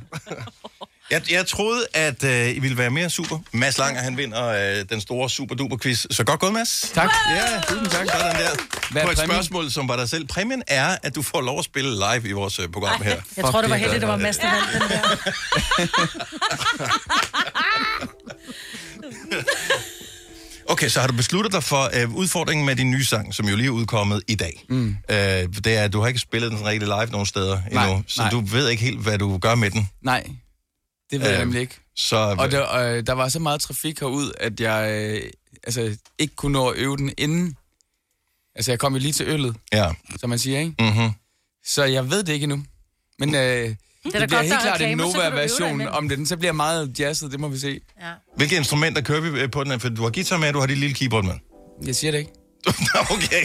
Jeg, jeg troede, at øh, I ville være mere super. Mads Langer, han vinder øh, den store super-duper-quiz. Så godt gået, Mads.
Tak.
Ja, tusind tak. Sådan der.
Hvad er
På et
præmien?
spørgsmål, som var dig selv. Præmien er, at du får lov at spille live i vores øh, program her.
Jeg tror, det var
det er
heldigt, det var
godt.
Mads, der vandt den der.
Okay, så har du besluttet dig for øh, udfordringen med din nye sang, som jo lige er udkommet i dag. Mm. Øh, det er, at du har ikke spillet den sådan rigtig live nogen steder
Nej,
endnu, så
nej.
du ved ikke helt, hvad du gør med den.
Nej, det ved jeg
Øh,
nemlig ikke.
Så
Og der, øh, der var så meget trafik herud, at jeg øh, altså, ikke kunne nå at øve den inden. Altså, jeg kom jo lige til øllet,
ja.
som man siger, ikke?
Mm-hmm. Mm.
Så jeg ved det ikke endnu. Men øh, det,
godt,
det
der er
bliver helt klart en
reklamer, så kan du øve dig
Nova-version
imellem.
om det. Den så bliver meget jazzet, det må vi se.
Ja.
Hvilke instrumenter kører vi øh, på den? her? For du har guitar med, og du har dit lille keyboard med.
Jeg siger det ikke.
okay.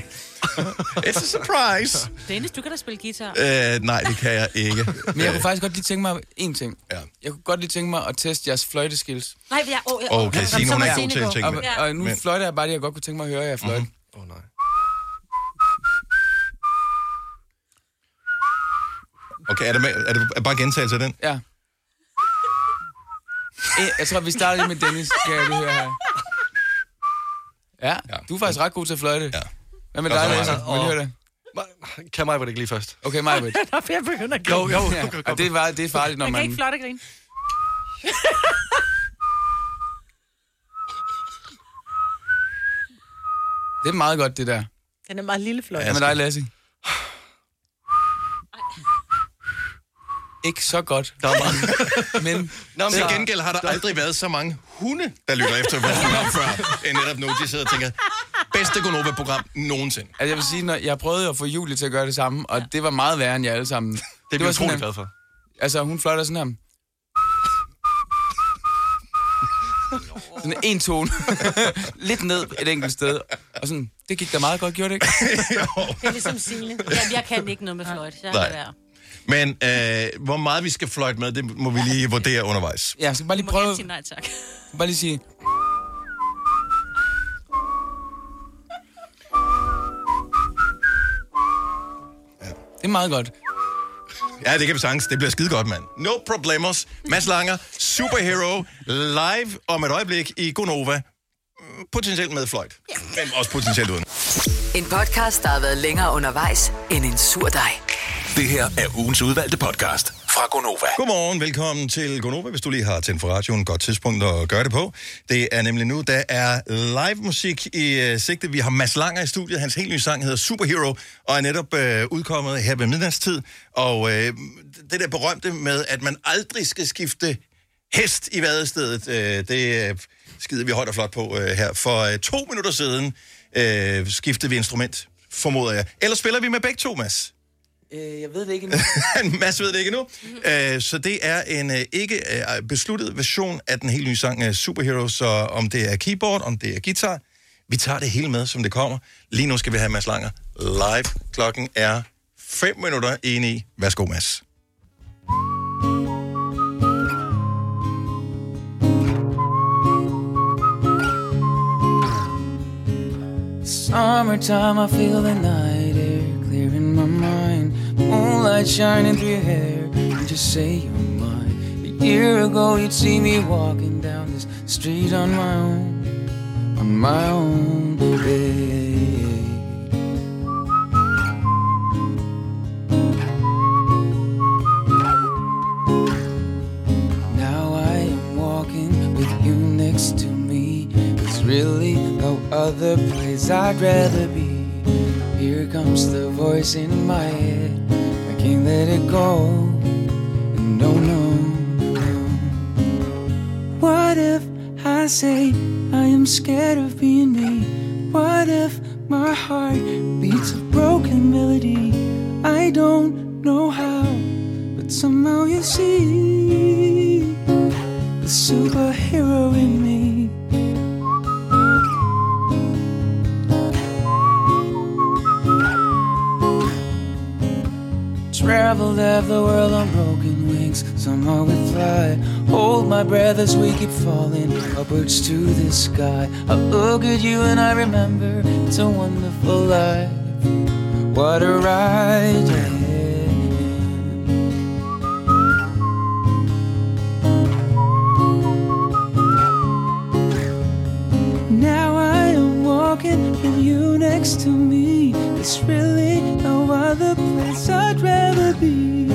It's a surprise.
Dennis, du kan da spille guitar.
Øh, nej, det kan jeg ikke.
Men jeg kunne faktisk godt lige tænke mig én ting.
Ja.
Jeg kunne godt lige tænke mig at teste jeres fløjteskills.
Nej, jeg... Oh, jeg
Okay, Signe, hun er ikke god til at tænke
Og,
med.
og nu
Men- Mhm.
fløjter jeg bare det, jeg godt kunne tænke mig at høre jer fløjte.
Åh, nej.
Okay, er det, med, er det er bare gentagelse af den?
Ja. Eh, Jeg tror, vi starter lige med Dennis, kan jeg lige høre her. Ja, du er faktisk ret god til at fløjte. Ja. Hvad med
Nå,
dig,
så
Lasse?
Maja.
Må jeg lige høre det?
Kan mig ikke lige først?
Okay, mig Jo,
Nå, for jeg begynder at grine.
jo. Ja. Og det, var, det er farligt, når
Man kan ikke
man...
flotte grine.
Det er meget godt, det der.
Den er meget lille fløjt.
Hvad med dig, Lasse? Ikke så godt. Der er meget. Men...
Nå, men til gengæld har der aldrig været så mange hunde, der lytter efter vores program før, end netop nu, de sidder og tænker, bedste Gonova-program nogensinde.
Altså, jeg vil sige, når jeg prøvede jo at få Julie til at gøre det samme, og det var meget værre end jeg alle sammen. Det
Det er
var
vi
sådan
utrolig
her-
glad for.
Altså, hun fløjter sådan her. Sådan en tone. Lidt ned et enkelt sted. Og sådan, det gik da meget godt, gjorde det ikke?
Det er ligesom Signe. Jamen, jeg kan ikke noget med fløjt. Jeg
Nej.
kan være.
Men øh, hvor meget vi skal fløjte med, det må vi lige vurdere undervejs.
Ja, så bare lige
Må jeg
prøve...
ikke sige nej tak.
Bare lige sige... Det er meget godt.
Ja, det kan vi sagtens. Det bliver skide godt, mand. No problemos. Mads Langer, superhero, live om et øjeblik i Gonova. Potentielt med fløjt, men også potentielt uden.
En podcast, der har været længere undervejs end en sur dej.
Det her er ugens udvalgte podcast fra Gonova.
Godmorgen, velkommen til Gonova, hvis du lige har tændt for radioen. Godt tidspunkt at gøre det på. Det er nemlig nu, der er live musik i øh, sigte. Vi har Mads Langer i studiet. Hans helt nye sang hedder Superhero, og er netop øh, udkommet her ved midnatstid. Og øh, det der berømte med, at man aldrig skal skifte hest i vadestedet, øh, det øh, skider vi højt og flot på øh, her. For øh, to minutter siden øh, skiftede vi instrument, formoder jeg. Eller spiller vi med begge to, Mads?
Øh, jeg ved det ikke endnu. Mhm.
Mads ved det ikke nu. Øh, Så det er en øh, ikke øh, besluttet version af den helt nye sang øh, Superhero, så om det er keyboard, om det er guitar, vi tager det hele med, som det kommer. Lige nu skal vi have Mads Langer live. Klokken er 5 minutter ind i. Værsgo, Mads.
Summertime, I feel the night air clearing my mind. Moonlight shining through your hair, and just say you're mine. A year ago, you'd see me walking down this street on my own, on my own. babe. Now I am walking with you next to me. There's really no other place I'd rather be. Here comes the voice in my head. I can't let it go. And no, no, no. What if I say I am scared of being me? What if my heart beats a broken melody? I don't know how, but somehow you see the superhero in me. Traveled half the world on broken wings, somehow we fly. Hold my breath as we keep falling upwards to the sky. I look at you and I remember it's a wonderful life. What a ride! Now I am walking with you next to me. There's really no other place I'd rather be.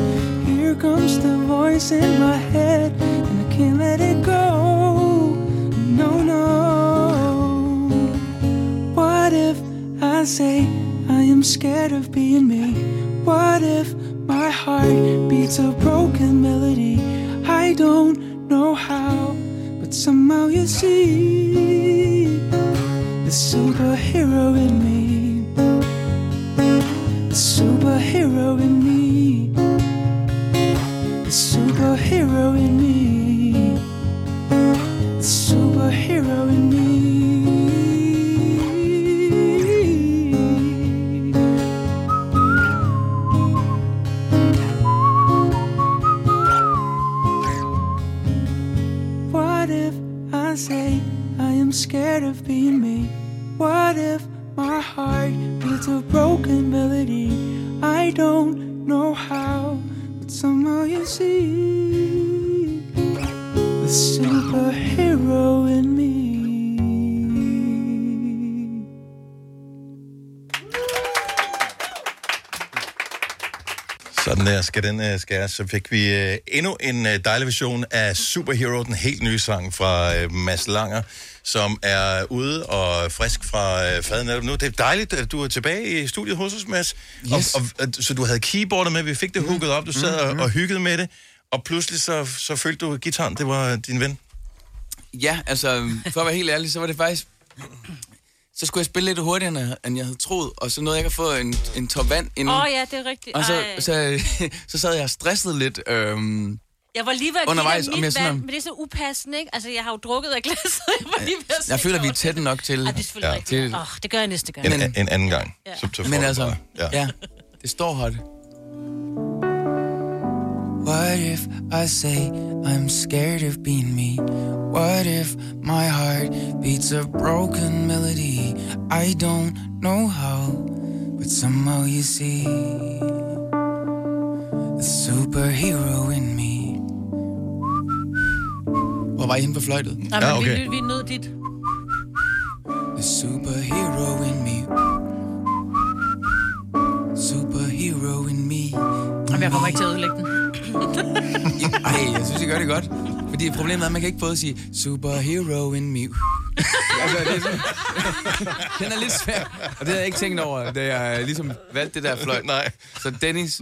Here comes the voice in my head, and I can't let it go. No, no. What if I say I am scared of being me? What if my heart beats a broken melody? I don't know how, but somehow you see the superhero in me. The superhero in me. The superhero in me. The superhero in me. What if I say I am scared of being me? What if my heart beats a broken melody? I don't know how, but
Somehow you see the superhero in me.
Sådan der skal den uh, skæres. Så fik vi uh, endnu en uh, dejlig version af Superhero, den helt nye sang fra uh, Mads Langer, som er ude og frisk fra uh, faden netop nu. Det er dejligt, at du er tilbage i studiet hos os, Mads. Yes. Mm-hmm. Og, og, og, så du havde keyboardet med, vi fik det hooket op, du sad og, og hyggede med det, og pludselig så, så følte du gitaren, det var din ven.
Ja, altså, for at være helt ærlig, så var det faktisk... Så skulle jeg spille lidt hurtigere, end jeg- end jeg havde troet, og så nåede jeg ikke at få en, en top vand inden.
Åh oh, ja, det er rigtigt.
Og så,
Ej.
så, så sad jeg og stressede lidt. Øhm,
Jeg var lige ved at
Undervejs,
give dig
om jeg
mit
sådan
vand,
om-
men det er så upassende, ikke? Altså, jeg har jo drukket af glasset, jeg var lige ved at
jeg føler, vi er tætte nok til...
Ej, det er selvfølgelig ja. rigtigt.
til
Åh, oh, det gør jeg næste gang.
En,
øh,
men, en anden gang.
Ja.
Så, så får
Men
du
altså,
bare-
ja. ja. Det står hot.
What if I say I'm scared of being me? What if my heart beats a broken melody? I don't know how, but somehow you see the superhero in me.
Hvor var I henne på fløjtet?
Nej, men vi, lyt- vi nød dit.
The superhero in me. Superhero in me.
Jamen, jeg kommer ikke til at ødelægge den.
Ej, jeg synes, I gør det godt. Fordi problemet er, at man kan ikke både sige superhero in me. altså, det er sådan, den er lidt svær. Og det havde jeg ikke tænkt over, da jeg ligesom valgte det der fløjt.
Nej.
Så Dennis,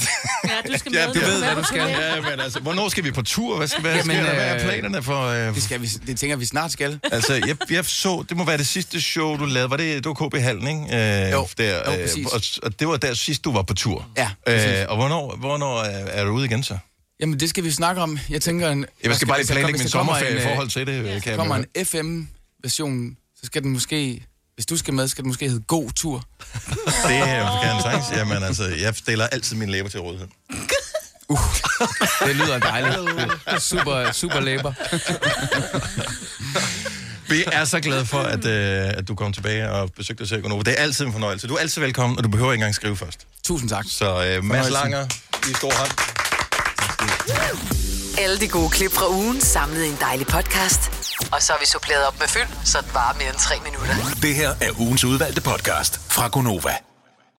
Ja, du skal
Ja, med. du ved, hvad du skal.
Ja, men altså, hvornår skal vi på tur? Hvad, skal, hvad, Jamen, skal, der, hvad er planerne for... Øh... Det,
skal vi, det tænker vi snart skal.
altså, jeg, jeg så... Det må være det sidste show, du lavede. Var det, det var KB Hallen, ikke? Øh, jo, der,
jo, præcis.
og, og det var der sidst, du var på tur.
Ja,
øh, Og hvornår, hvornår er, er du ude igen så?
jamen det skal vi snakke om. Jeg tænker... En,
Jeg skal bare lige
hvis der
planlægge
kom- hvis
min
der kommer
sommerferie
en,
i
øh,
forhold til det. øh,
Hvis
Kan
der
jeg
kommer
høre.
en FM-version, så skal den måske... Hvis du skal med, skal den måske hedde God Tur.
Det øh, kan jeg sagtens. Jamen altså, jeg stiller altid mine læber til rådighed. Uh.
Det lyder dejligt. Super, super læber.
Vi er så glade for, at, øh, at du kom tilbage og besøgte os her i Gonova. Det er altid en fornøjelse. Du er altid velkommen, og du behøver ikke engang skrive først.
Tusind tak.
Så øh, Mads
Fornøjelsen.
Langer, i stor hånd.
Alle de gode klip fra ugen samlet i en dejlig podcast. Og så har vi suppleret op med fyld, så det varer mere end tre minutter.
Det her er ugens udvalgte podcast fra Gonova.